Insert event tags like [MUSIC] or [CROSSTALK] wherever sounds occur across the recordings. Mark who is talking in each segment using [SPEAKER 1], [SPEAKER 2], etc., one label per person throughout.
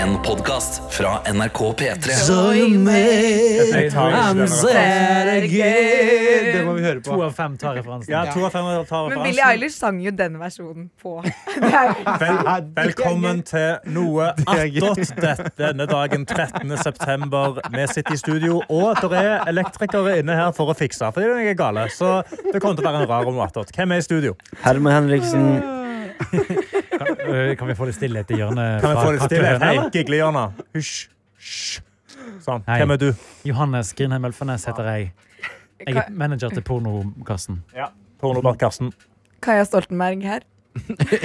[SPEAKER 1] En podcast fra NRK P3
[SPEAKER 2] Det må vi høre
[SPEAKER 3] To
[SPEAKER 2] på.
[SPEAKER 3] av fem tar referansen.
[SPEAKER 2] Ja, to av fem tar
[SPEAKER 4] Men
[SPEAKER 2] referansen.
[SPEAKER 4] Billie Eilish sang jo den versjonen på. Det er jo
[SPEAKER 2] Vel, velkommen til noe attåt dette- denne dagen 13. september. Vi sitter i studio, og det er elektrikere inne her for å fikse, fordi de er gale. Så det kommer til å være en rar om attåt. Hvem er i studio?
[SPEAKER 5] Herman Henriksen.
[SPEAKER 3] Kan, øh, kan vi få litt stillhet i hjørnet?
[SPEAKER 2] Kan vi
[SPEAKER 3] fra
[SPEAKER 2] få litt
[SPEAKER 3] Katt og
[SPEAKER 2] stillhet?
[SPEAKER 3] høne,
[SPEAKER 2] Hei,
[SPEAKER 3] eller?
[SPEAKER 2] giglehjørna. Hysj. Hysj. Sånn.
[SPEAKER 3] Hei.
[SPEAKER 2] Hvem er du?
[SPEAKER 3] Johannes Grindheim Ølfarnes heter jeg. Jeg er manager til Pornokassen.
[SPEAKER 2] Pornobart Karsten.
[SPEAKER 4] Kaja Stoltenberg her.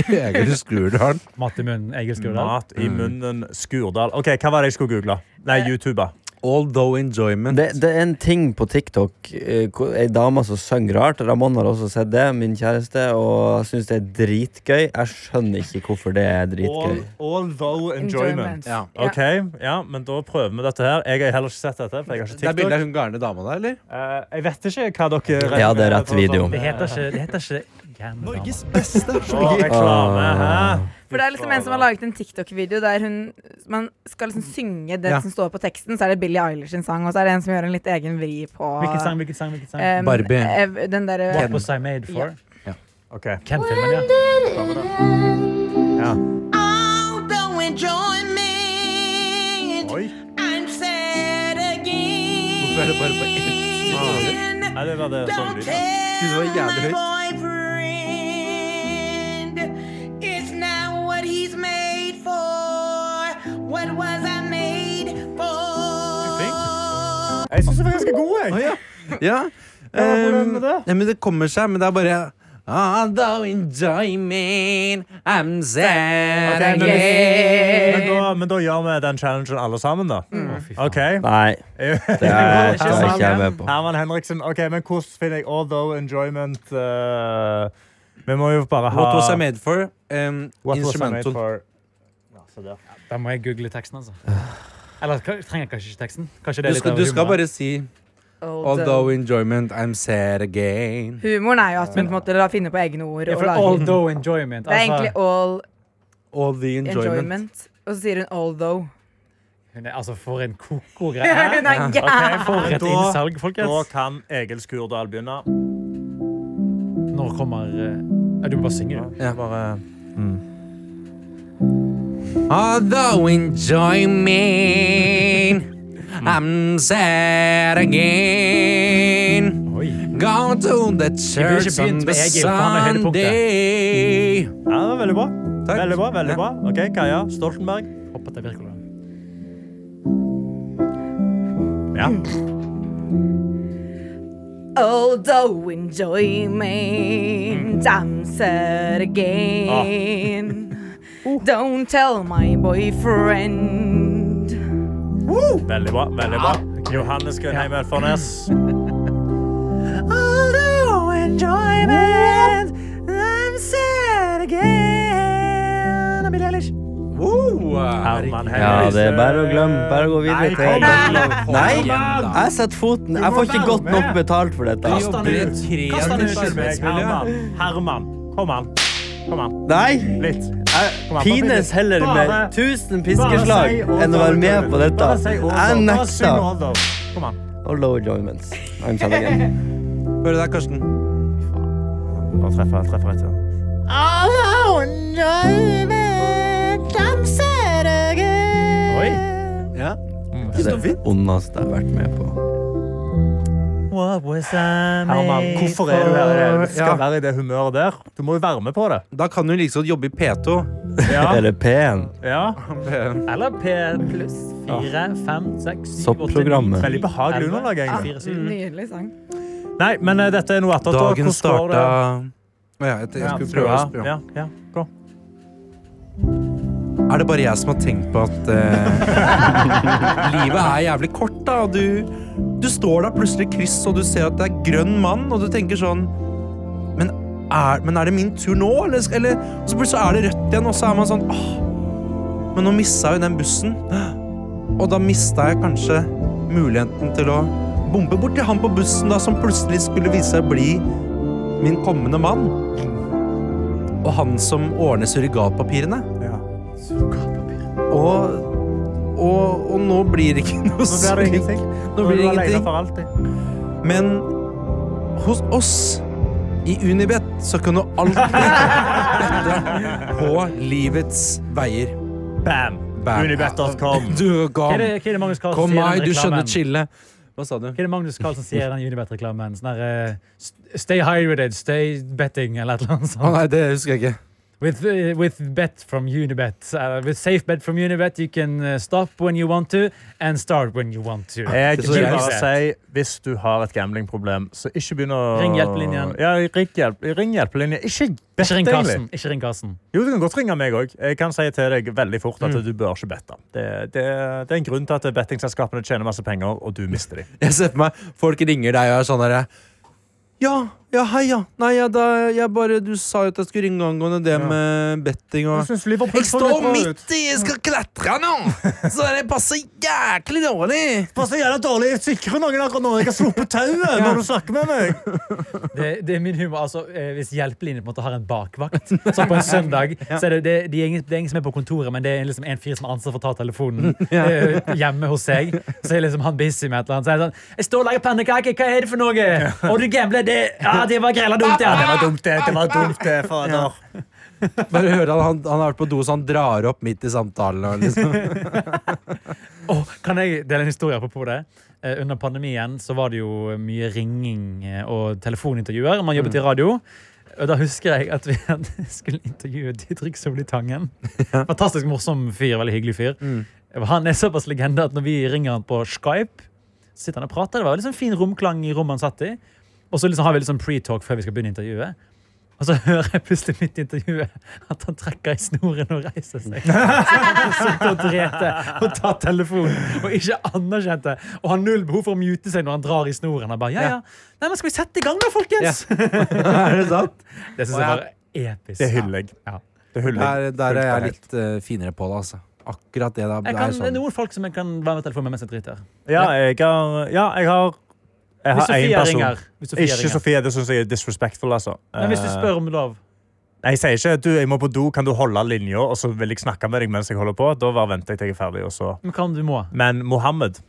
[SPEAKER 5] Egil Skurdal.
[SPEAKER 3] Mat i munnen, Egil Skurdal.
[SPEAKER 2] Mat i munnen, Skurdal. Ok, Hva var det jeg skulle google? Nei, YouTube.
[SPEAKER 6] Although enjoyment.
[SPEAKER 5] Det, det er en ting på TikTok. eh, hvor- Ei dame som synger rart. Ramón har også sett det, min kjæreste, og jeg syns det er dritgøy. Jeg skjønner ikke hvorfor det er dritgøy.
[SPEAKER 2] although
[SPEAKER 4] Enjoyment.
[SPEAKER 6] Ja.
[SPEAKER 2] OK, ja, men da prøver vi dette her. Jeg har heller ikke sett dette. for jeg har ikke
[SPEAKER 6] Det er
[SPEAKER 2] TikTok.
[SPEAKER 6] bilde av hun gærne dama der, eller?
[SPEAKER 2] Eh, jeg vet ikke hva dere regner
[SPEAKER 5] Ja, det er rett
[SPEAKER 2] med for [LAUGHS] sånn-
[SPEAKER 5] video.
[SPEAKER 3] Det heter ikke, det heter ikke Gjerne damer.
[SPEAKER 6] beste.
[SPEAKER 2] Å, reklame,
[SPEAKER 5] Ah.
[SPEAKER 2] hæ?
[SPEAKER 4] For det er liksom en som har laget en TikTok-video der hun man skal liksom synge det
[SPEAKER 6] Ja.
[SPEAKER 4] som står på teksten. Så er det Billie Eilish sin sang, og så er det en som gjør en litt egen vri på
[SPEAKER 3] Hvilken sang? hvilken sang, hvilken sang?
[SPEAKER 4] em,
[SPEAKER 6] Barbie.
[SPEAKER 4] ev- den derre
[SPEAKER 3] What was I made for?
[SPEAKER 2] Ok.
[SPEAKER 3] Ken-filmen, ja.
[SPEAKER 2] Ja.
[SPEAKER 7] Oh, Although enjoyment,
[SPEAKER 2] Oi.
[SPEAKER 7] I'm sad again.
[SPEAKER 6] Hvorfor er det bare på ett
[SPEAKER 2] Oh,
[SPEAKER 6] svar?
[SPEAKER 2] Nei, det var det sånn
[SPEAKER 7] Don't
[SPEAKER 2] lyd. ja.
[SPEAKER 6] Gud, det
[SPEAKER 7] tell
[SPEAKER 6] var
[SPEAKER 7] my
[SPEAKER 6] jævlig høyt.
[SPEAKER 7] boyfriend It's not what he's made for What was I made for?
[SPEAKER 2] Jeg syns den var ganske god, jeg.
[SPEAKER 6] Å, ja. ja.
[SPEAKER 2] hvordan med det?
[SPEAKER 6] Ehm, nei, men det kommer seg, men det er bare "Ah, Although enjoyment, I'm sad
[SPEAKER 2] Ok, men-
[SPEAKER 6] again.
[SPEAKER 2] Men da, men da gjør vi den challengen alle sammen, da.
[SPEAKER 4] Mm.
[SPEAKER 2] OK. [LAUGHS]
[SPEAKER 5] Nei, det er, det er ikke jeg med på.
[SPEAKER 2] Herman Henriksen. Ok, Men hvordan finner jeg although enjoyment eh, Vi må jo bare ha
[SPEAKER 6] What was I made for? Ehm,
[SPEAKER 2] What was I made
[SPEAKER 6] instrumental.
[SPEAKER 2] for? Ja, se der.
[SPEAKER 3] Da må jeg google teksten, altså. Eller k- trenger jeg kanskje ikke teksten? Kanskje det
[SPEAKER 6] Du
[SPEAKER 3] er litt
[SPEAKER 6] skal,
[SPEAKER 3] av
[SPEAKER 6] du skal
[SPEAKER 3] humoren.
[SPEAKER 6] bare si
[SPEAKER 4] old- eh,
[SPEAKER 6] Although enjoyment, I'm sad again.
[SPEAKER 4] Humoren er jo at hun på en måte da finner på egne ord.
[SPEAKER 3] ja,
[SPEAKER 4] Og
[SPEAKER 3] for
[SPEAKER 4] lager.
[SPEAKER 3] Although enjoyment.
[SPEAKER 4] Det er egentlig
[SPEAKER 3] Altså,
[SPEAKER 4] all
[SPEAKER 6] All the enjoyment.
[SPEAKER 4] enjoyment. Og så sier hun although.
[SPEAKER 3] hun er, altså for en koko greie.
[SPEAKER 4] [LAUGHS] Hun er
[SPEAKER 2] Ok,
[SPEAKER 4] gæren!
[SPEAKER 2] for
[SPEAKER 3] For et
[SPEAKER 2] da-
[SPEAKER 3] innsalg,
[SPEAKER 2] Da
[SPEAKER 3] folkens.
[SPEAKER 2] kan Egil Skurdal begynne.
[SPEAKER 3] Når kommer eh, ja, Du må bare synge, du.
[SPEAKER 6] Ja. Mm. Although enjoyment, I'm sad again.
[SPEAKER 3] Oi.
[SPEAKER 6] Go to the
[SPEAKER 3] burde ikke
[SPEAKER 6] church on
[SPEAKER 3] begynt
[SPEAKER 6] the
[SPEAKER 3] med Egil, for han er høydepunktet.
[SPEAKER 6] Sunday.
[SPEAKER 2] Ja, det var veldig bra.
[SPEAKER 6] Takk.
[SPEAKER 2] Veldig bra, veldig
[SPEAKER 6] Ja.
[SPEAKER 2] bra. Ok, Kaja Stoltenberg.
[SPEAKER 3] Hoppet jeg Wirkola.
[SPEAKER 2] Ja.
[SPEAKER 4] Although enjoyment, I'm sad again. Don't tell my boyfriend.
[SPEAKER 2] Veldig bra. veldig bra. Johannes Grønheim Elfarnes.
[SPEAKER 6] [LAUGHS] Although enjoyment, I'm sad again. Billie Eilish.
[SPEAKER 2] Herman
[SPEAKER 5] Ja,
[SPEAKER 2] Henriksen.
[SPEAKER 5] det er bare å glemme. Bare å gå videre til Nei, jeg setter foten. Jeg får ikke godt nok betalt for dette.
[SPEAKER 6] Kast han ut.
[SPEAKER 2] Kast han ut.
[SPEAKER 6] Herman.
[SPEAKER 2] Herman. Herman. Kom an. Kom an.
[SPEAKER 5] Nei!
[SPEAKER 2] Litt.
[SPEAKER 5] Jeg pines heller med 1000 piskeslag
[SPEAKER 2] Bare si
[SPEAKER 5] enn å være med
[SPEAKER 2] over.
[SPEAKER 5] på dette.
[SPEAKER 2] Bare si over.
[SPEAKER 5] Jeg
[SPEAKER 2] Bare si
[SPEAKER 5] nekter.
[SPEAKER 2] over. Kom an.
[SPEAKER 5] Og low enjoyments. I'm sad again.
[SPEAKER 6] Hør der, Karsten.
[SPEAKER 2] Bare treffer, treffer rett. ja.
[SPEAKER 3] Oi.
[SPEAKER 6] Ja.
[SPEAKER 5] Det er det ondeste jeg har vært med på.
[SPEAKER 2] Herman, hvorfor er du her? i det- Du skal
[SPEAKER 6] Ja.
[SPEAKER 2] være i det humøret der. Du må jo være med på det.
[SPEAKER 6] Da kan du like så godt jobbe i P2. [LAUGHS]
[SPEAKER 2] Ja.
[SPEAKER 5] Eller pen.
[SPEAKER 2] ja.
[SPEAKER 3] Eller P pluss fire,
[SPEAKER 6] Ah.
[SPEAKER 3] fem, seks, syv, åtte,
[SPEAKER 5] Soppprogrammet.
[SPEAKER 3] ni,
[SPEAKER 2] Veldig behagelig
[SPEAKER 3] elleve,
[SPEAKER 2] underlag, egentlig.
[SPEAKER 3] fire, syv.
[SPEAKER 4] Nydelig sang.
[SPEAKER 2] Nei, men eh, dette er noe attåt. da.
[SPEAKER 6] Dagen
[SPEAKER 2] Hvordan går
[SPEAKER 6] starta
[SPEAKER 2] det?
[SPEAKER 6] Å ja, jeg, jeg
[SPEAKER 2] Ja,
[SPEAKER 6] skulle prøve å
[SPEAKER 2] ja,
[SPEAKER 6] spørre.
[SPEAKER 2] ja, ja. Gå.
[SPEAKER 6] Er det bare jeg som har tenkt på at eh, livet er jævlig kort, da? Og du, du står der plutselig i kryss, og du ser at det er grønn mann, og du tenker sånn Men er, men er det min tur nå, eller, skal- eller og Så plutselig er det rødt igjen, og så er man sånn Åh, Men nå missa jeg jo den bussen. Og da mista jeg kanskje muligheten til å bombe bort til han på bussen, da, som plutselig skulle vise seg å bli min kommende mann. Og han som ordner surrogatpapirene.
[SPEAKER 2] Ja.
[SPEAKER 6] Og og, og nå blir det ikke noe
[SPEAKER 2] Nå blir det
[SPEAKER 6] slik.
[SPEAKER 2] ingenting.
[SPEAKER 6] Nå blir det ingenting.
[SPEAKER 2] for alltid.
[SPEAKER 6] Men hos oss i Unibet så kan du alltid bette på livets veier.
[SPEAKER 2] Bam!
[SPEAKER 6] Bam. [LAUGHS]
[SPEAKER 2] Unibet.com.
[SPEAKER 6] Du,
[SPEAKER 3] Hva er
[SPEAKER 6] kom.
[SPEAKER 3] det, hva er det Magnus Carlsen
[SPEAKER 6] Kom,
[SPEAKER 3] sier i
[SPEAKER 6] meg,
[SPEAKER 3] den
[SPEAKER 6] du
[SPEAKER 3] reklamen?
[SPEAKER 6] skjønner chille. Hva sa du?
[SPEAKER 3] Hva er det Magnus Carlsen sier i den Unibet-reklamen? Sånn der, eh, st- Stay hydrated, stay betting, eller et eller annet
[SPEAKER 6] Å
[SPEAKER 3] sånt.
[SPEAKER 6] nei, det husker jeg ikke.
[SPEAKER 3] With, eh, with bet from Unibet. eh, with safe bet from Unibet, you can eh, stop when you want to, and start when you want to.
[SPEAKER 2] Jeg
[SPEAKER 6] Det er så
[SPEAKER 2] vil
[SPEAKER 6] jævlig
[SPEAKER 2] bare
[SPEAKER 3] sent.
[SPEAKER 2] si, hvis du har et gamblingproblem, så ikke begynn å
[SPEAKER 3] Ring hjelpelinjen.
[SPEAKER 2] Ja, ring, hjelp, ring hjelpelinjen. Ikke bett,
[SPEAKER 3] Ikke ring
[SPEAKER 2] egentlig.
[SPEAKER 3] Karsten. Ikke ring Karsten.
[SPEAKER 2] Jo, du kan godt ringe meg òg. Jeg kan si til deg veldig fort at du bør ikke bette. Det, det, det er en grunn til at bettingselskapene tjener masse penger, og du mister dem.
[SPEAKER 6] Jeg ser på meg, folk ringer deg og er sånn herre Ja, ja, hei, ja. Nei, ja, da, jeg bare Du sa jo at jeg skulle ringe angående det med betting og Jeg står midt i, jeg skal klatre nå! Så det passer jæklig dårlig.
[SPEAKER 2] Passer jævla dårlig. Jeg sikrer noen akkurat nå. Jeg har sluppet [LAUGHS] tauet når du snakker med meg.
[SPEAKER 3] Det, det er min humor. altså eh, Hvis hjelpelinjen på en måte har en bakvakt Så
[SPEAKER 2] [LAUGHS]
[SPEAKER 3] på en søndag så er det, det, det, er ingen, det er ingen som er på kontoret, men det er liksom en fyr som har ansvar for å ta
[SPEAKER 2] [LAUGHS]
[SPEAKER 3] telefonen eh, hjemme hos seg. Så er liksom han busy med et eller annet. Så er det sånn Jeg står og lager pannekaker, hva er det for noe? Og du gambler, det Ja, det var grella dumt, ja.
[SPEAKER 2] [LAUGHS] Det var dumt, det. Det var dumt, det,
[SPEAKER 5] [LAUGHS]
[SPEAKER 2] fader.
[SPEAKER 6] Bare høre, han, han, han har vært på do, så han drar opp midt i samtalen. Og liksom.
[SPEAKER 3] Åh, kan jeg dele en historie apropos det? Eh, under pandemien så var det jo mye ringing eh, og telefonintervjuer. Man
[SPEAKER 2] Mm.
[SPEAKER 3] jobbet i radio. Og da husker jeg at vi hadde- [LAUGHS] skulle intervjue Didrik Solli Tangen. Fantastisk morsom fyr. veldig hyggelig fyr. Han er såpass legende at når vi ringer han på Skype, så sitter han og prater. Det var liksom fin romklang i rommet han satt i. Og så liksom har vi litt sånn pre-talk før vi skal begynne intervjuet. Og så [LAUGHS] hører jeg plutselig midt i intervjuet at han trekker i snoren og reiser seg sitte og drete og ta telefonen og ikke anerkjente. Og har null behov for å mute seg når han drar i snoren. Han bare, ja, ja. Nei, men skal vi sette i gang da, folkens?
[SPEAKER 6] er det sant?
[SPEAKER 3] Det synes jeg var episk.
[SPEAKER 2] Det hyller jeg.
[SPEAKER 3] Ja.
[SPEAKER 2] Det hyller
[SPEAKER 6] Der,
[SPEAKER 2] jeg.
[SPEAKER 6] der er jeg
[SPEAKER 2] Fullt og
[SPEAKER 6] litt eh, finere på det, altså. Akkurat det der.
[SPEAKER 3] Jeg
[SPEAKER 6] er
[SPEAKER 3] kan, det er
[SPEAKER 6] sånn.
[SPEAKER 3] noen folk som jeg kan være med telefonen med mens jeg driter.
[SPEAKER 2] Ja, jeg har Ja, jeg har jeg
[SPEAKER 3] Hvis
[SPEAKER 2] har én
[SPEAKER 3] Sofia
[SPEAKER 2] person.
[SPEAKER 3] ringer. Hvis Sofia
[SPEAKER 2] Ikke
[SPEAKER 3] ringer.
[SPEAKER 2] Sofie. Det syns jeg er disrespectful. altså.
[SPEAKER 3] Men hvis du
[SPEAKER 2] Eh,
[SPEAKER 3] spør om lov.
[SPEAKER 2] Nei, Jeg sier ikke du, jeg må på do, kan du holde linja, og så vil jeg snakke med deg mens jeg holder på. Da bare venter jeg til jeg er ferdig, og så.
[SPEAKER 3] Men hva om du må?
[SPEAKER 2] Men Mohammed,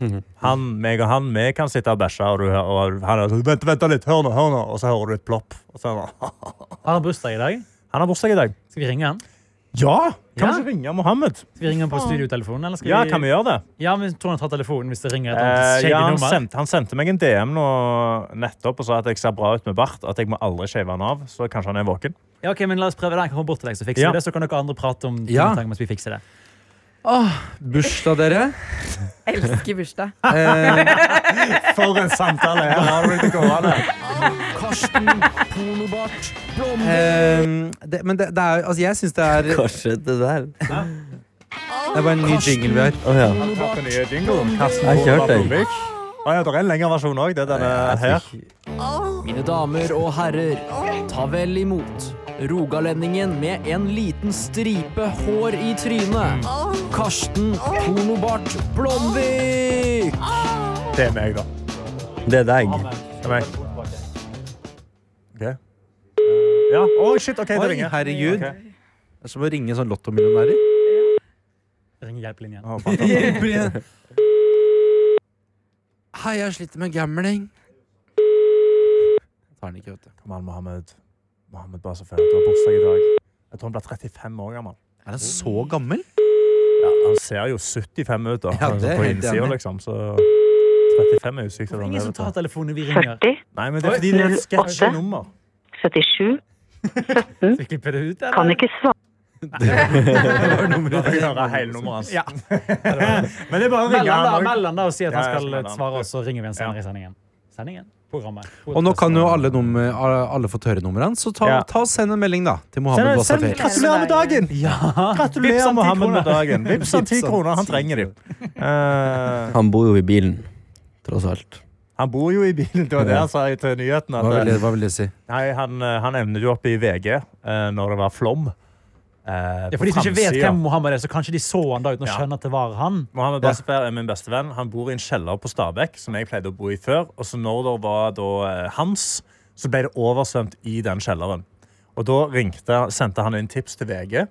[SPEAKER 6] Mhm.
[SPEAKER 2] han, meg og han, vi kan sitte og bæsje, og, du, hø- og han er sånn, vent, vent litt, hør nå, hør nå, og så hører du et plopp. Og så er han, bare,
[SPEAKER 3] Har han bursdag i dag?
[SPEAKER 2] han har bursdag i dag.
[SPEAKER 3] Skal vi ringe han?
[SPEAKER 2] Ja! Kan
[SPEAKER 3] Ja.
[SPEAKER 2] vi ikke ringe Mohammed?
[SPEAKER 3] Skal vi ringe han på studiotelefonen? Eller skal
[SPEAKER 2] Ja, kan vi gjøre det?
[SPEAKER 3] Ja, men tror han tar telefonen hvis det ringer et
[SPEAKER 2] Eh,
[SPEAKER 3] annet shady
[SPEAKER 2] ja, han,
[SPEAKER 3] nummer?
[SPEAKER 2] sendte, han sendte meg en DM nå nettopp og sa at jeg ser bra ut med bart, at jeg må aldri shave han av, så kanskje han er våken.
[SPEAKER 3] Ja, ok, men la oss prøve det. Jeg kan komme bort til deg, så fikser
[SPEAKER 2] Ja.
[SPEAKER 3] vi det. Så kan dere andre prate om
[SPEAKER 6] Ja.
[SPEAKER 3] ting mens vi fikser det.
[SPEAKER 6] Bursdag, dere.
[SPEAKER 4] [LAUGHS] Elsker bursdag.
[SPEAKER 2] For en samtale! Her har du det gående. [LAUGHS]
[SPEAKER 6] Karsten, pornobart, blonde Ehm, det, Men det, det er, altså, jeg syns det er Det
[SPEAKER 5] Hva skjedde der?
[SPEAKER 6] er bare en ny jingle vi har.
[SPEAKER 5] Å ja.
[SPEAKER 2] Takk for nye jinglen. Karsten
[SPEAKER 5] Jeg
[SPEAKER 2] Bohman
[SPEAKER 5] kjørte, jeg.
[SPEAKER 2] Blomvik. Å ja, det er en lengre versjon òg. Det er denne her.
[SPEAKER 8] Mine damer og herrer, ta vel imot rogalendingen med en liten stripe hår i trynet. Karsten Pornobart Blomvik!
[SPEAKER 2] Det er meg, da.
[SPEAKER 5] Det er deg.
[SPEAKER 2] Det er meg. Ok. Eh, Ja. Å, shit. OK, det
[SPEAKER 6] Oi,
[SPEAKER 2] ringer.
[SPEAKER 6] herregud.
[SPEAKER 2] Ok.
[SPEAKER 6] Det er som å ringe sånn lottomillionærer.
[SPEAKER 3] Ring hjelpelinjen.
[SPEAKER 2] Å, fantastisk.
[SPEAKER 6] Hei, jeg sliter med gambling. Jeg tar den ikke, vet du.
[SPEAKER 2] Kom an, Mohammed. Mohammed Basafel, du har bursdag i dag. Jeg tror han ble 35 år gammel.
[SPEAKER 6] Er han så gammel?
[SPEAKER 2] Ja, han ser jo 75 ut, da.
[SPEAKER 6] Ja, det er
[SPEAKER 2] på
[SPEAKER 6] helt
[SPEAKER 2] innsida,
[SPEAKER 6] enig.
[SPEAKER 2] liksom. Så 35 er jo sykt. at han
[SPEAKER 3] Ingen
[SPEAKER 2] lever
[SPEAKER 3] som tar
[SPEAKER 2] til.
[SPEAKER 3] telefonen når vi ringer.
[SPEAKER 2] Nei, men det er fordi det er et sketsjy
[SPEAKER 9] 08.
[SPEAKER 2] nummer.
[SPEAKER 9] 77,
[SPEAKER 3] Vi klipper det ut, eller?
[SPEAKER 9] kan ikke svare.
[SPEAKER 2] Da får jeg høre hele nummeret hans. Men det er bare å
[SPEAKER 3] Meld
[SPEAKER 2] ringe
[SPEAKER 3] han
[SPEAKER 2] han
[SPEAKER 3] da,
[SPEAKER 2] også.
[SPEAKER 3] meld han da og si at han
[SPEAKER 2] Ja, jeg
[SPEAKER 3] skal
[SPEAKER 2] skal melde han.
[SPEAKER 3] svare, og så ringer vi han senere
[SPEAKER 2] Ja.
[SPEAKER 3] i sendingen. Sendingen? Programmet.
[SPEAKER 6] Og nå kan jo alle, nummer, alle fått høre nummeret hans, så ta,
[SPEAKER 2] Ja.
[SPEAKER 6] ta og send en melding da til Mohammed Wasafer.
[SPEAKER 2] Gratulerer med dagen!
[SPEAKER 3] Vips
[SPEAKER 2] Gratulerer
[SPEAKER 3] han ti
[SPEAKER 2] Mohammed med
[SPEAKER 3] kroner.
[SPEAKER 2] dagen. Vips han ti
[SPEAKER 6] Vips han
[SPEAKER 2] kroner. Han
[SPEAKER 6] ti
[SPEAKER 2] trenger dem. Eh,
[SPEAKER 5] Han bor jo i bilen, tross alt.
[SPEAKER 2] han bor jo i bilen. Det var det han sa i- til nyheten.
[SPEAKER 6] Hva
[SPEAKER 2] At,
[SPEAKER 6] vil,
[SPEAKER 2] eh,
[SPEAKER 6] hva vil det si?
[SPEAKER 2] nei, han, eh, han evnet jo opp i VG eh, når det var flom. Eh,
[SPEAKER 3] Ja,
[SPEAKER 2] på
[SPEAKER 3] for de som ikke vet
[SPEAKER 2] framsida.
[SPEAKER 3] hvem Mohammed er, så kanskje de så han da uten å
[SPEAKER 2] Ja.
[SPEAKER 3] skjønne at det var han.
[SPEAKER 2] Mohammed Bassefer er min beste venn. Han bor i en kjeller på Stabekk, som jeg pleide å bo i før. Og så når det var da eh, hans, så ble det oversvømt i den kjelleren. Og da ringte, sendte han inn tips til VG.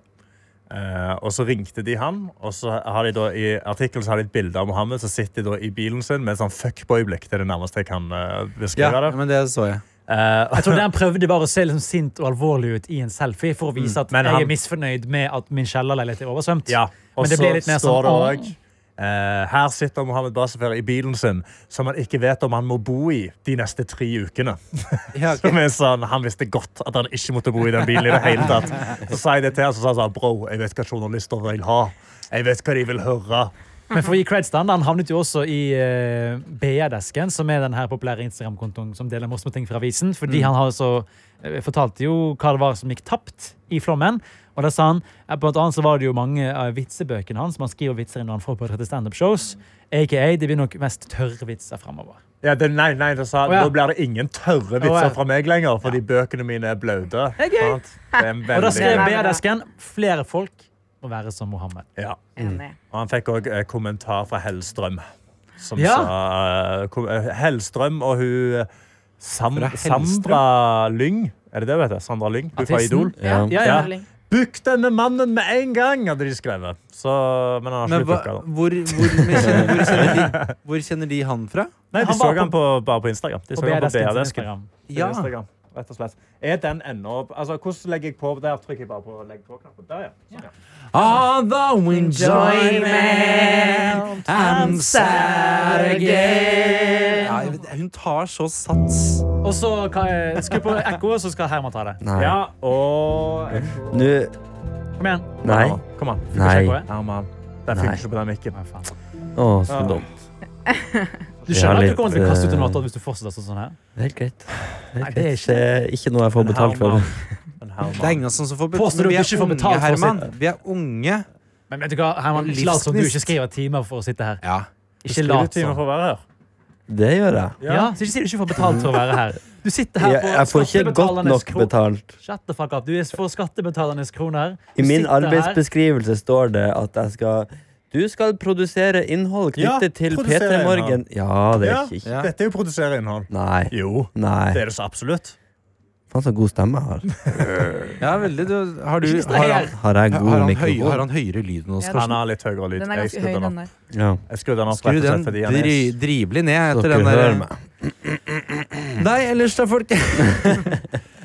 [SPEAKER 2] Eh, og så ringte de han, og så har de da i artikkelen så har de et bilde av Mohammed. Så sitter de da i bilen sin med et sånn fuckboy-blikk. Det er det nærmeste jeg kan eh,
[SPEAKER 6] Ja,
[SPEAKER 2] beskrive det.
[SPEAKER 6] men det så jeg.
[SPEAKER 2] Eh,
[SPEAKER 3] Jeg tror den prøvde bare å se liksom sint og alvorlig ut i en selfie for å vise at
[SPEAKER 2] Mm. men
[SPEAKER 3] jeg
[SPEAKER 2] han-
[SPEAKER 3] er misfornøyd med at min kjellerleilighet er oversvømt.
[SPEAKER 2] Ja, og
[SPEAKER 3] [LAUGHS] Men det
[SPEAKER 2] så
[SPEAKER 3] ble litt mer
[SPEAKER 2] står det
[SPEAKER 3] sånn,
[SPEAKER 2] også, eh, her sitter Mohammed Basafir i bilen sin, som han ikke vet om han må bo i de neste tre ukene. [LAUGHS]
[SPEAKER 6] Ja, ok.
[SPEAKER 2] Som er sånn, Han visste godt at han ikke måtte bo i den bilen. i det hele tatt. Så sa jeg det til han, så sa han sånn, bro, jeg vet hva journalister vil ha. Jeg vet hva de vil høre.
[SPEAKER 3] Men for å gi creds til han, han havnet jo også i uh, BR-desken, som er den her populære Instagram-kontoen som deler morsomme ting fra avisen.
[SPEAKER 2] Mm.
[SPEAKER 3] Fordi han har så, eh, fortalte jo hva det var som gikk tapt i flommen. Og da sa han, eh, blant annet så var det jo mange av vitsebøkene hans, man skriver vitser inn når han får på 30 stand-up-shows, a.k.a. det blir nok mest tørre vitser fremover.
[SPEAKER 2] Ja, det, nei, nei, det sa,
[SPEAKER 3] Å, ja.
[SPEAKER 2] Nå blir det ingen tørre vitser
[SPEAKER 3] Å, ja.
[SPEAKER 2] fra meg lenger, fordi bøkene mine er blaute.
[SPEAKER 4] Det er gøy.
[SPEAKER 2] Sant? Det er en
[SPEAKER 3] Og da skrev
[SPEAKER 2] veldig...
[SPEAKER 4] Veldig.
[SPEAKER 3] BR-desken, flere folk må være som Mohammed.
[SPEAKER 2] Ja.
[SPEAKER 4] Enig.
[SPEAKER 2] Og han fikk òg kommentar fra Hellstrøm. Som
[SPEAKER 3] Ja.
[SPEAKER 2] sa eh, kom- eh, Hellstrøm og hun eh, Sam,
[SPEAKER 6] Fra Hellstrøm?
[SPEAKER 2] Sandra Lyng. Er det det hun heter? Sandra Lyng? Hun fra
[SPEAKER 3] Artisten.
[SPEAKER 2] Idol.
[SPEAKER 5] Ja.
[SPEAKER 3] Ja, ja.
[SPEAKER 2] Ja. Book denne mannen med en gang, hadde de skrevet. Så, men han har
[SPEAKER 6] Men
[SPEAKER 2] ikke
[SPEAKER 6] hva,
[SPEAKER 2] blitt booka. da.
[SPEAKER 6] hvor, hvor, men kjenner, hvor, kjenner de, hvor kjenner de han fra?
[SPEAKER 2] Nei,
[SPEAKER 3] han
[SPEAKER 2] de
[SPEAKER 3] var
[SPEAKER 2] så
[SPEAKER 3] på-
[SPEAKER 2] han på, bare på Instagram. De
[SPEAKER 3] På
[SPEAKER 2] så han på
[SPEAKER 3] BR-desken sin
[SPEAKER 2] BRDesken.
[SPEAKER 3] Instagram.
[SPEAKER 6] Ja.
[SPEAKER 2] Instagram, rett og slett. Er den ennå altså, Hvordan legger jeg på der? Trykker jeg bare på legg på-knappen. Der, ja. Sånn, ja.
[SPEAKER 6] Ah, Although
[SPEAKER 4] Enjoyment,
[SPEAKER 6] I'm
[SPEAKER 4] sad again.
[SPEAKER 6] Ja, jeg vet- hun tar så sats.
[SPEAKER 3] Og så kan- skru på ekko, og så skal Herman ta det.
[SPEAKER 5] Nei.
[SPEAKER 2] ja og
[SPEAKER 5] Nå
[SPEAKER 3] Kom igjen.
[SPEAKER 5] Nei.
[SPEAKER 2] Kom an.
[SPEAKER 5] Nei.
[SPEAKER 3] Sjekk på det.
[SPEAKER 2] Herman. Den
[SPEAKER 5] Nei.
[SPEAKER 2] funker ikke på den mikken.
[SPEAKER 3] Å, faen.
[SPEAKER 5] Å, så dumt.
[SPEAKER 3] Du
[SPEAKER 5] Jeg har
[SPEAKER 3] skjønner at du
[SPEAKER 5] litt,
[SPEAKER 3] kommer til å kaste ut en
[SPEAKER 5] eh,
[SPEAKER 3] låt hvis du fortsetter sånn sånn her?
[SPEAKER 5] Det er helt greit. Det er,
[SPEAKER 3] Nei,
[SPEAKER 5] helt
[SPEAKER 3] det er
[SPEAKER 5] greit. Det er ikke noe jeg får betalt for.
[SPEAKER 2] Men
[SPEAKER 6] Det er
[SPEAKER 2] Herman.
[SPEAKER 6] ingen som får betalt.
[SPEAKER 3] Påstår du
[SPEAKER 6] Vi
[SPEAKER 3] at du ikke
[SPEAKER 6] er
[SPEAKER 3] får betalt for
[SPEAKER 6] unge,
[SPEAKER 3] å
[SPEAKER 6] Herman. Vi er unge.
[SPEAKER 3] Men vet du hva, Herman, ikke lat som du ikke skriver timer for å sitte her.
[SPEAKER 6] Ja.
[SPEAKER 3] Ikke
[SPEAKER 2] Skriv ut
[SPEAKER 5] altså.
[SPEAKER 3] lat
[SPEAKER 2] timer
[SPEAKER 3] som.
[SPEAKER 2] for å være her.
[SPEAKER 5] Det gjør jeg.
[SPEAKER 3] Ja, så ikke si du ikke får betalt for å være her. Du sitter her
[SPEAKER 5] Jeg,
[SPEAKER 3] på
[SPEAKER 5] jeg får ikke godt
[SPEAKER 3] skattebetalernes
[SPEAKER 5] nok
[SPEAKER 3] kro-
[SPEAKER 5] betalt.
[SPEAKER 3] Shut the fuck up. Du er for skattebetalernes kroner. Du
[SPEAKER 5] I min
[SPEAKER 3] sitter her.
[SPEAKER 5] arbeidsbeskrivelse står det at jeg skal Du skal produsere innhold
[SPEAKER 2] Ja,
[SPEAKER 5] knyttet til
[SPEAKER 2] produsere
[SPEAKER 5] PT Morgen. Ja, det
[SPEAKER 2] Ja,
[SPEAKER 5] er ikke
[SPEAKER 6] Ja.
[SPEAKER 2] Dette er jo produsere innhold.
[SPEAKER 5] Nei.
[SPEAKER 2] Jo, det
[SPEAKER 5] Nei.
[SPEAKER 2] er det så absolutt.
[SPEAKER 5] Faen, så god stemme jeg har.
[SPEAKER 6] ja, veldig. Du, har, du,
[SPEAKER 3] distraher.
[SPEAKER 6] har, han,
[SPEAKER 5] Har jeg
[SPEAKER 6] har,
[SPEAKER 5] god
[SPEAKER 6] han høy, har
[SPEAKER 5] mikrofon?
[SPEAKER 6] han høyere lyd enn oss?
[SPEAKER 4] Ja,
[SPEAKER 2] Han har litt høyere lyd.
[SPEAKER 4] Den er
[SPEAKER 2] Jeg
[SPEAKER 4] ganske
[SPEAKER 2] skrudde
[SPEAKER 4] høy,
[SPEAKER 2] den opp.
[SPEAKER 4] den der.
[SPEAKER 5] Ja.
[SPEAKER 2] Jeg skrudde den opp
[SPEAKER 6] Skru
[SPEAKER 2] rett og
[SPEAKER 6] den
[SPEAKER 2] slett fordi han er
[SPEAKER 6] dri, drivelig ned etter
[SPEAKER 5] Dere
[SPEAKER 6] den
[SPEAKER 5] hører
[SPEAKER 6] der
[SPEAKER 5] meg.
[SPEAKER 6] [CLEARS THROAT] Nei, ellers da,
[SPEAKER 2] [LAUGHS]
[SPEAKER 6] folk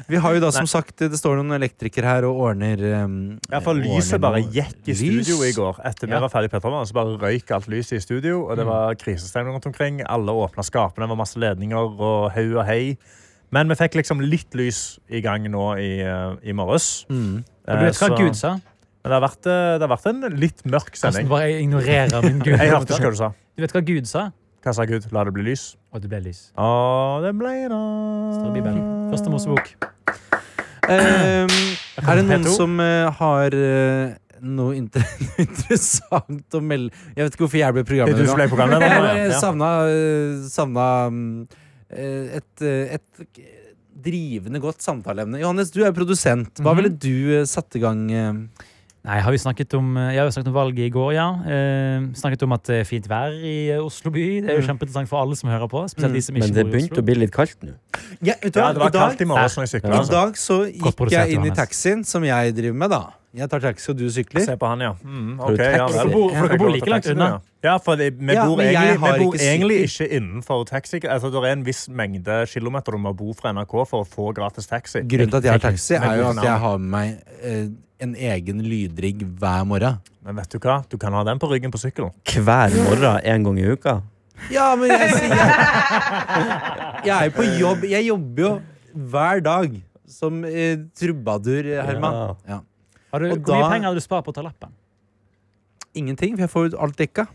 [SPEAKER 6] Vi har jo da som sagt Det står noen elektrikere her og ordner um,
[SPEAKER 2] ja, for Lyset bare gikk i
[SPEAKER 6] Lys?
[SPEAKER 2] studio i går. Etter vi
[SPEAKER 3] Ja. Mm.
[SPEAKER 2] var ferdig, Petter, så bare røyk alt lyset i studio. Og Det var krisestemning rundt omkring. Alle åpna skapene, det var masse ledninger og hei og hei. Men vi fikk liksom litt lys i gang nå i, eh, i morges.
[SPEAKER 6] Mm.
[SPEAKER 3] Og Du vet hva
[SPEAKER 2] Eh, så-
[SPEAKER 3] Gud sa?
[SPEAKER 2] Men det har, vært, eh, det har vært en litt mørk
[SPEAKER 3] Karsten
[SPEAKER 2] sending.
[SPEAKER 3] bare ignorerer min Gud.
[SPEAKER 2] Jeg hørte ikke hva du sa.
[SPEAKER 3] Du vet hva Gud sa?
[SPEAKER 2] Hva sa Gud? La det bli lys?
[SPEAKER 3] Og det ble lys.
[SPEAKER 2] Å, det ble
[SPEAKER 3] Står i
[SPEAKER 2] det.
[SPEAKER 3] Bibelen. Første Mosebok.
[SPEAKER 6] Um, Er det noen
[SPEAKER 3] P2?
[SPEAKER 6] som uh, har uh, noe inter [LAUGHS] interessant å melde Jeg vet ikke hvorfor jeg ble
[SPEAKER 2] Det er du
[SPEAKER 6] programleder
[SPEAKER 2] som ble
[SPEAKER 6] nå.
[SPEAKER 3] [LAUGHS]
[SPEAKER 2] programleder?
[SPEAKER 6] Jeg
[SPEAKER 2] nå,
[SPEAKER 6] bare
[SPEAKER 2] ja.
[SPEAKER 6] savna, uh, savna um, uh, et, uh, et drivende godt samtaleemne. Johannes, du er produsent. Hva
[SPEAKER 3] Mhm.
[SPEAKER 6] ville du uh, satt i gang uh,
[SPEAKER 3] Nei, har vi snakket om, jeg har jo snakket om valget i går, ja. Eh, snakket om at det er fint vær i eh, Oslo by. Det er jo
[SPEAKER 6] Mm.
[SPEAKER 3] kjempeinteressant for alle som hører på. Spesielt de som ikke
[SPEAKER 5] Men det
[SPEAKER 3] bor i
[SPEAKER 5] begynte
[SPEAKER 3] Oslo.
[SPEAKER 5] å bli litt kaldt nå.
[SPEAKER 6] ja, vet du hva?
[SPEAKER 2] Ja, det var
[SPEAKER 6] I dag-
[SPEAKER 2] kaldt i altså. morges når jeg sykla.
[SPEAKER 6] I dag så
[SPEAKER 3] Godt
[SPEAKER 6] gikk
[SPEAKER 3] produsert,
[SPEAKER 6] jeg inn i
[SPEAKER 3] Johannes.
[SPEAKER 6] taxien, som jeg driver med, da. Jeg tar taxi, og du sykler.
[SPEAKER 2] Se på han, ja. Mm,
[SPEAKER 5] Har du
[SPEAKER 2] ok, ja
[SPEAKER 5] taxi?
[SPEAKER 2] vel.
[SPEAKER 3] For dere bor like langt unna.
[SPEAKER 2] Ja, for det, vi
[SPEAKER 6] Ja,
[SPEAKER 2] bor,
[SPEAKER 6] men jeg
[SPEAKER 2] egentlig,
[SPEAKER 6] har
[SPEAKER 2] vi bor
[SPEAKER 6] ikke
[SPEAKER 2] egentlig
[SPEAKER 6] sykkel.
[SPEAKER 2] ikke innenfor taxi. Altså, det er en viss mengde kilometer du må bo fra NRK for å få gratis taxi.
[SPEAKER 6] Grunnen til at jeg har taxi,
[SPEAKER 2] Med
[SPEAKER 6] er
[SPEAKER 2] god
[SPEAKER 6] jo at
[SPEAKER 2] navn.
[SPEAKER 6] jeg har med meg eh, en egen lydrigg hver morgen.
[SPEAKER 2] Men vet du hva? Du kan ha den på ryggen på sykkelen.
[SPEAKER 5] Hver morgen en gang i uka.
[SPEAKER 6] Ja, men jeg sier Jeg, jeg er jo på jobb. Jeg jobber jo hver dag som eh, trubadur, eh, Herman. Ja.
[SPEAKER 3] Har du,
[SPEAKER 6] Og
[SPEAKER 3] hvor mye
[SPEAKER 6] da-
[SPEAKER 3] penger har du spart på å ta lappen?
[SPEAKER 6] Ingenting, for jeg får jo alt dekka.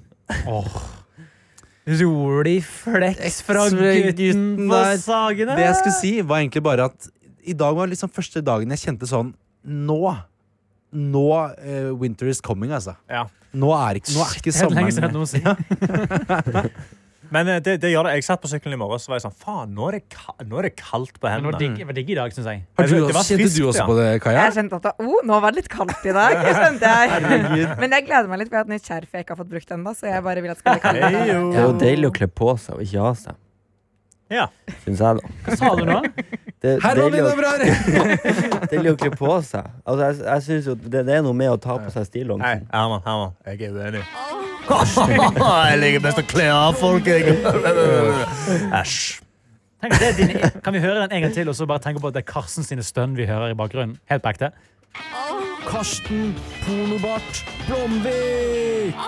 [SPEAKER 3] Rolig flex fra
[SPEAKER 6] Ekstra
[SPEAKER 3] gutten
[SPEAKER 6] gutten
[SPEAKER 3] på
[SPEAKER 6] der.
[SPEAKER 3] Sagene!
[SPEAKER 6] Det jeg skulle si, var egentlig bare at i dag var liksom første dagen jeg kjente sånn Nå Nå eh, winter is coming, altså.
[SPEAKER 2] Ja.
[SPEAKER 6] Nå er ikke, nå er ikke
[SPEAKER 3] Det er helt lenge siden jeg
[SPEAKER 6] sommeren
[SPEAKER 3] hadde noe å si.
[SPEAKER 2] Men eh, det, det gjør det. Jeg satt på sykkelen i morges og var jeg sånn Faen, nå er det, ka nå er det kaldt på
[SPEAKER 3] Men
[SPEAKER 2] hendene.
[SPEAKER 3] det var digg, det var digg i dag, syns jeg.
[SPEAKER 6] Har
[SPEAKER 2] Jeg vet,
[SPEAKER 6] du
[SPEAKER 2] det
[SPEAKER 6] også,
[SPEAKER 2] var
[SPEAKER 6] kjente
[SPEAKER 2] friskt,
[SPEAKER 6] du også
[SPEAKER 2] ja.
[SPEAKER 6] på det, Kaja?
[SPEAKER 4] Jeg kjente at det, oh, nå var det litt kaldt i dag. skjønte jeg. Men jeg gleder meg litt, for jeg har et nytt skjerf jeg ikke har fått brukt ennå. Så jeg bare vil at det skal bli kaldt.
[SPEAKER 2] Hei, jo.
[SPEAKER 5] Det er jo deilig å kle på seg og ikke ha seg.
[SPEAKER 2] Ja.
[SPEAKER 5] Syns jeg, da.
[SPEAKER 3] Hva sa du nå?
[SPEAKER 5] [LAUGHS] det, det,
[SPEAKER 6] Herman
[SPEAKER 5] gjelder
[SPEAKER 6] Lina
[SPEAKER 5] jo- [LAUGHS] det gjelder jo ikke på seg. Altså, jeg, jeg synes jo det, det er noe med å ta på seg
[SPEAKER 2] Nei,
[SPEAKER 5] stillongsen.
[SPEAKER 2] Herman, Herman, jeg er uenig. jeg liker best å kle av folk, jeg. Æsj.
[SPEAKER 3] Tenk, at det er dine, kan vi høre den en gang til, og så bare tenke på at det er Karsten sine stønn vi hører i bakgrunnen? Helt på ekte.
[SPEAKER 8] Karsten Pornobart Blomvik!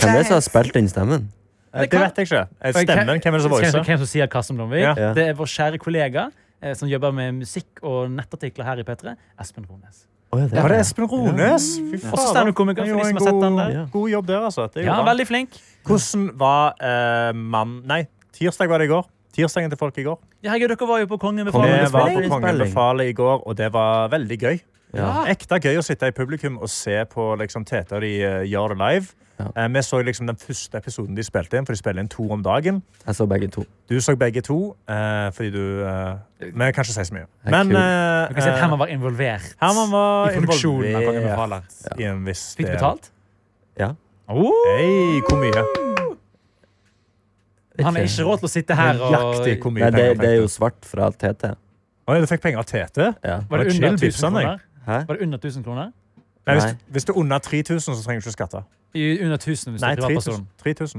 [SPEAKER 5] Hvem er det som har spilt den stemmen?
[SPEAKER 2] Det vet jeg ikke. Eh, Stemmen, hvem er det som
[SPEAKER 3] Skal jeg-
[SPEAKER 2] voicer?
[SPEAKER 3] Hvem som sier Karsten Blomvik?
[SPEAKER 2] Ja.
[SPEAKER 5] Ja.
[SPEAKER 3] Det er vår kjære kollega eh, som jobber med musikk og nettartikler her i P3, Espen Rones.
[SPEAKER 5] Å, ja, det
[SPEAKER 2] Var
[SPEAKER 5] er
[SPEAKER 2] det
[SPEAKER 5] det.
[SPEAKER 2] Espen Rones? Fy faen.
[SPEAKER 3] Også standup-komiker,
[SPEAKER 2] Han
[SPEAKER 3] for de
[SPEAKER 2] gjorde
[SPEAKER 3] som
[SPEAKER 2] en
[SPEAKER 3] har sett den der.
[SPEAKER 2] god- God jobb der, altså. Det er jo
[SPEAKER 3] Ja,
[SPEAKER 2] bra.
[SPEAKER 3] veldig flink.
[SPEAKER 2] Hvordan var eh, mann... Nei, tirsdag var det i går. Tirsdagen til folk i går.
[SPEAKER 3] Ja, Herregud, dere var jo på Kongen
[SPEAKER 2] Det
[SPEAKER 3] befaler.
[SPEAKER 2] var på
[SPEAKER 5] Innspilling.
[SPEAKER 2] Kongen befaler i går, og det var veldig gøy.
[SPEAKER 5] Ja.
[SPEAKER 2] Ekte gøy å sitte i publikum og se på liksom, Tete og de eh, gjør det live.
[SPEAKER 5] Ja.
[SPEAKER 2] Eh, vi så liksom den første episoden de spilte inn, for de spiller inn to om dagen.
[SPEAKER 5] Jeg så begge to.
[SPEAKER 2] Du så begge to, eh, fordi du eh, Vi kan ikke si så mye.
[SPEAKER 5] er
[SPEAKER 2] Men
[SPEAKER 5] kul.
[SPEAKER 2] eh,
[SPEAKER 3] Du kan si at
[SPEAKER 2] eh,
[SPEAKER 3] Herman var involvert
[SPEAKER 2] Herman var
[SPEAKER 3] i produksjonen av Kongen
[SPEAKER 2] involvert
[SPEAKER 3] befaler.
[SPEAKER 2] i en viss
[SPEAKER 3] Fikk
[SPEAKER 2] del.
[SPEAKER 3] betalt?
[SPEAKER 5] Ja.
[SPEAKER 3] Oh,
[SPEAKER 2] Hei, hvor mye?
[SPEAKER 3] han er ikke råd til å sitte her og
[SPEAKER 2] Nøyaktig hvor mye
[SPEAKER 5] Nei, det,
[SPEAKER 2] penger
[SPEAKER 5] det er
[SPEAKER 2] fikk
[SPEAKER 5] jo
[SPEAKER 2] du?
[SPEAKER 5] svart fra TT.
[SPEAKER 2] Oi, du fikk penger av Tete?
[SPEAKER 5] Ja.
[SPEAKER 3] Var det
[SPEAKER 2] Var
[SPEAKER 3] under
[SPEAKER 2] chill,
[SPEAKER 3] 1000
[SPEAKER 2] Bibsen, jeg.
[SPEAKER 3] kroner?
[SPEAKER 5] Hæ?
[SPEAKER 3] Var det under 1000 kroner?
[SPEAKER 2] Nei, hvis,
[SPEAKER 5] Nei.
[SPEAKER 2] hvis det er under 3000, så trenger du ikke skatte.
[SPEAKER 3] I- Under 1000 hvis du
[SPEAKER 2] Nei, 3000.
[SPEAKER 3] er privatperson.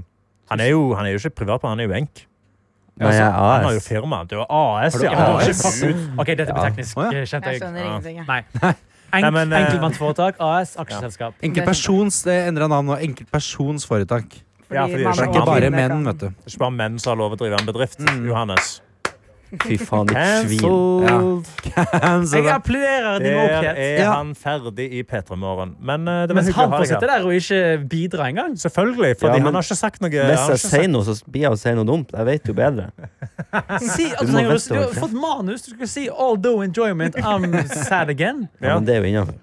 [SPEAKER 2] 3000. Han er, jo, han er jo ikke privatperson, han er jo enk.
[SPEAKER 5] Nei, jeg
[SPEAKER 2] Han har
[SPEAKER 5] er
[SPEAKER 2] jo
[SPEAKER 5] AS.
[SPEAKER 2] firma. Du har AS,
[SPEAKER 3] Ja, men du har ikke
[SPEAKER 2] AS.
[SPEAKER 3] fast ut- OK, dette blir teknisk.
[SPEAKER 6] Å,
[SPEAKER 3] eh, Kjente
[SPEAKER 4] Jeg
[SPEAKER 3] jeg.
[SPEAKER 4] skjønner ingenting. jeg.
[SPEAKER 3] Nei. Enk,
[SPEAKER 2] Nei, men, eh,
[SPEAKER 3] enkeltmannsforetak, AS, aksjeselskap.
[SPEAKER 6] Enkeltpersons det endra navn nå. Enkeltpersons foretak.
[SPEAKER 2] Ja,
[SPEAKER 4] man
[SPEAKER 2] fordi det er
[SPEAKER 6] Det er
[SPEAKER 2] ikke
[SPEAKER 6] ikke
[SPEAKER 4] må-
[SPEAKER 6] bare
[SPEAKER 2] bare,
[SPEAKER 6] menn, vet du.
[SPEAKER 2] det er ikke bare menn som har lov å drive en bedrift. Johannes.
[SPEAKER 5] Fy faen, ditt svin.
[SPEAKER 6] [LAUGHS]
[SPEAKER 3] Jeg applauderer din
[SPEAKER 2] Der
[SPEAKER 3] åkhet.
[SPEAKER 2] er
[SPEAKER 6] Ja.
[SPEAKER 2] han ferdig i P3 Morgen. Men eh, det var
[SPEAKER 3] Mens
[SPEAKER 2] hyggelig å
[SPEAKER 3] han
[SPEAKER 2] ha
[SPEAKER 3] får
[SPEAKER 2] deg
[SPEAKER 3] sitte
[SPEAKER 2] her.
[SPEAKER 3] der og ikke bidra engang.
[SPEAKER 2] Selvfølgelig, for
[SPEAKER 5] Ja, men-
[SPEAKER 2] han har ikke sagt noe. han
[SPEAKER 5] Hvis
[SPEAKER 2] har
[SPEAKER 5] jeg
[SPEAKER 2] ikke sagt-
[SPEAKER 5] sier noe, så blir jeg å si noe dumt. Jeg vet jo bedre.
[SPEAKER 3] Si, altså,
[SPEAKER 5] må
[SPEAKER 3] trenger du,
[SPEAKER 5] vente,
[SPEAKER 3] du har
[SPEAKER 5] Åke.
[SPEAKER 3] fått manus. Du skal si 'although enjoyment, I'm sad
[SPEAKER 6] [LAUGHS]
[SPEAKER 3] again'.
[SPEAKER 5] Ja,
[SPEAKER 2] Ja.
[SPEAKER 5] men det er jo innafor.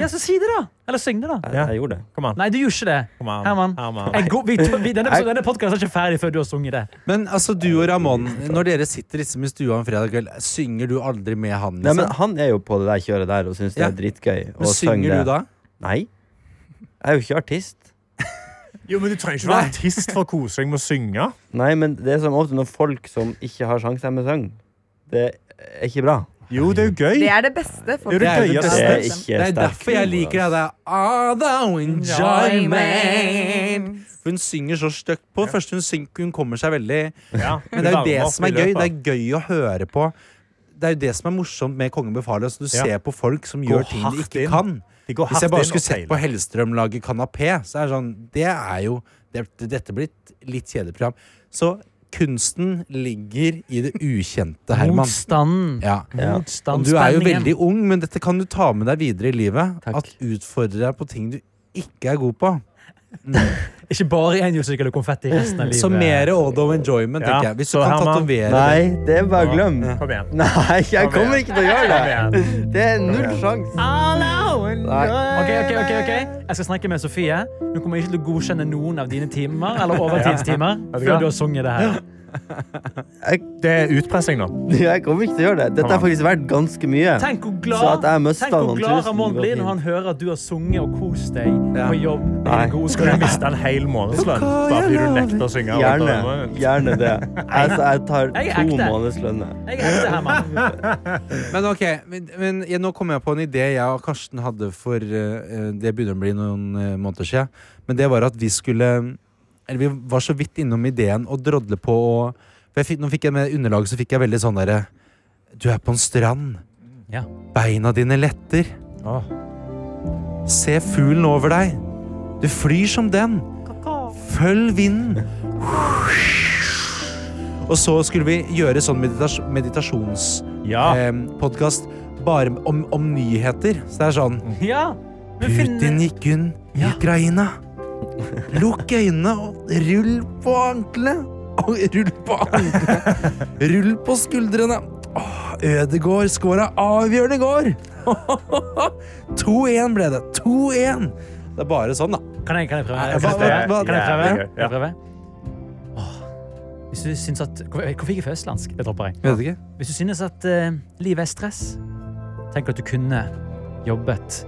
[SPEAKER 3] Ja, så si det, da. Eller syng det, da.
[SPEAKER 5] Jeg,
[SPEAKER 2] Ja.
[SPEAKER 5] jeg gjorde det.
[SPEAKER 2] Kom an.
[SPEAKER 3] Nei, du gjorde ikke det.
[SPEAKER 2] Kom an.
[SPEAKER 3] Herman.
[SPEAKER 2] Herman.
[SPEAKER 3] Jeg går- vi, vi, denne episoden- denne podkasten er ikke ferdig før du har sunget det.
[SPEAKER 6] Men altså, du og Ramón, når dere sitter liksom i stua en fredag kveld, synger du aldri med han?
[SPEAKER 5] Nei, men
[SPEAKER 6] Liksom?
[SPEAKER 5] han er jo på det der kjøret der og syns det
[SPEAKER 6] Ja.
[SPEAKER 5] er dritgøy.
[SPEAKER 6] men
[SPEAKER 5] Og
[SPEAKER 6] synger du da?
[SPEAKER 5] Nei. Jeg er jo ikke artist.
[SPEAKER 2] Jo, men Du trenger ikke være artist for kosing med å synge.
[SPEAKER 5] Nei, men det er som ofte når folk som ikke har sjangsstemme, synger. Det er ikke bra.
[SPEAKER 2] Jo, det er jo gøy.
[SPEAKER 4] Det er det beste. folk-
[SPEAKER 2] Det er det
[SPEAKER 6] Det er jo det
[SPEAKER 5] Det
[SPEAKER 2] gøyeste.
[SPEAKER 5] er
[SPEAKER 4] Ja,
[SPEAKER 5] ikke
[SPEAKER 6] Det er
[SPEAKER 5] sterk
[SPEAKER 6] derfor jeg
[SPEAKER 5] humor, altså.
[SPEAKER 6] liker det. Det er Although enjoyment. Hun synger så stygt på. Først hun synger, hun kommer seg veldig
[SPEAKER 2] Ja,
[SPEAKER 6] Men det er jo
[SPEAKER 2] varmer
[SPEAKER 6] det
[SPEAKER 2] opp
[SPEAKER 6] som
[SPEAKER 2] i
[SPEAKER 6] er gøy. Det
[SPEAKER 2] løpet.
[SPEAKER 6] er gøy å høre på. Det er jo det som er morsomt med Kongen befaler. Altså, du
[SPEAKER 2] Ja.
[SPEAKER 6] ser på folk som
[SPEAKER 2] Går
[SPEAKER 6] gjør ting de
[SPEAKER 2] hardt
[SPEAKER 6] ikke
[SPEAKER 2] inn.
[SPEAKER 6] kan.
[SPEAKER 2] De går
[SPEAKER 6] Hvis jeg
[SPEAKER 2] hardt
[SPEAKER 6] bare
[SPEAKER 2] inn
[SPEAKER 6] skulle
[SPEAKER 2] og feiler.
[SPEAKER 6] sett på Hellstrøm lage kanapé, så er det sånn Det er jo det, Dette blir et litt kjedelig program. Så kunsten ligger i det ukjente, Herman.
[SPEAKER 3] Motstanden.
[SPEAKER 6] Ja.
[SPEAKER 3] Motstand,
[SPEAKER 6] Du er jo
[SPEAKER 3] spenningen.
[SPEAKER 6] veldig ung, men dette kan du ta med deg videre i livet.
[SPEAKER 5] Takk.
[SPEAKER 6] At Utfordre deg på ting du ikke er god på.
[SPEAKER 3] Ikke bare enhjulssykkel og konfetti resten av livet.
[SPEAKER 6] Så mer Odo enjoyment,
[SPEAKER 2] Ja,
[SPEAKER 6] tenker jeg. Hvis du
[SPEAKER 2] så
[SPEAKER 6] kan
[SPEAKER 2] Herman-
[SPEAKER 5] altså.
[SPEAKER 6] tatovere
[SPEAKER 5] Nei, det er bare å glemme.
[SPEAKER 2] Kom igjen.
[SPEAKER 5] Nei, jeg kommer ikke til å gjøre
[SPEAKER 2] Kom
[SPEAKER 5] det.
[SPEAKER 2] igjen.
[SPEAKER 5] Det er null sjanse.
[SPEAKER 3] Ok, ok, ok, ok. Jeg skal snakke med Sofie. Hun kommer ikke til å godkjenne noen av dine timer eller overtidstimer
[SPEAKER 2] du hva?
[SPEAKER 3] før du har sunget det her.
[SPEAKER 2] Det er utpressing nå.
[SPEAKER 5] Jeg kommer ikke til å gjøre det. Dette har faktisk vært ganske mye.
[SPEAKER 3] Tenk hvor
[SPEAKER 5] Så at
[SPEAKER 3] glad,
[SPEAKER 5] jeg mistet
[SPEAKER 3] tenk hvor
[SPEAKER 5] noen
[SPEAKER 3] glad
[SPEAKER 5] tusen
[SPEAKER 3] Ramón blir
[SPEAKER 5] går
[SPEAKER 3] når han hører at du har sunget og kost deg på jobb. med
[SPEAKER 5] Nei.
[SPEAKER 3] dine gode
[SPEAKER 2] Skal du
[SPEAKER 3] kolleger.
[SPEAKER 2] miste en hel månedslønn bare fordi du nekter å synge?
[SPEAKER 5] Gjerne. Gjerne det. Altså, jeg tar
[SPEAKER 3] Jeg er
[SPEAKER 5] to
[SPEAKER 3] ekte.
[SPEAKER 5] månedslønner.
[SPEAKER 3] Jeg er ekte,
[SPEAKER 5] [LAUGHS]
[SPEAKER 3] Herman.
[SPEAKER 6] Men ok, men, men jeg, nå kom jeg på en idé jeg og Karsten hadde for eh, Det begynner å bli noen eh, måneder siden. Men det var at vi skulle Eller vi var så vidt innom ideen å drodle på og for jeg fikk, Nå fikk jeg med underlaget, så fikk jeg veldig sånn derre Du er på en strand.
[SPEAKER 3] Ja.
[SPEAKER 6] Beina dine letter. Se fuglen over deg. Du flyr som den. Følg vinden. Og så skulle vi gjøre sånn meditas meditasjons
[SPEAKER 2] Ja.
[SPEAKER 6] eh, podkast bare om, om nyheter. Så det er sånn
[SPEAKER 3] Ja. Men
[SPEAKER 6] Putin
[SPEAKER 3] finn,
[SPEAKER 6] gikk unn
[SPEAKER 3] Ja.
[SPEAKER 6] Ukraina. Lukk øynene og rull på ankelet. Og rull på ankelet. Rull på skuldrene. Åh, Ødegård skåra avgjørende i går. [LAUGHS] 2-1 ble det. 2-1. Det er bare sånn, da.
[SPEAKER 3] kan, jeg, kan jeg prøve?
[SPEAKER 6] Nei,
[SPEAKER 3] Jeg
[SPEAKER 6] hva-
[SPEAKER 3] synes det er-
[SPEAKER 6] hva- hva-
[SPEAKER 3] Kan jeg prøve?
[SPEAKER 2] Jævlig gøy,
[SPEAKER 3] Kan jeg prøve? Åh, Hvis du syns at Hvor hvor fikk jeg fra østlandsk? Det dropper jeg.
[SPEAKER 6] Vet ikke.
[SPEAKER 3] Hvis du synes at eh, livet er stress, tenk at du kunne jobbet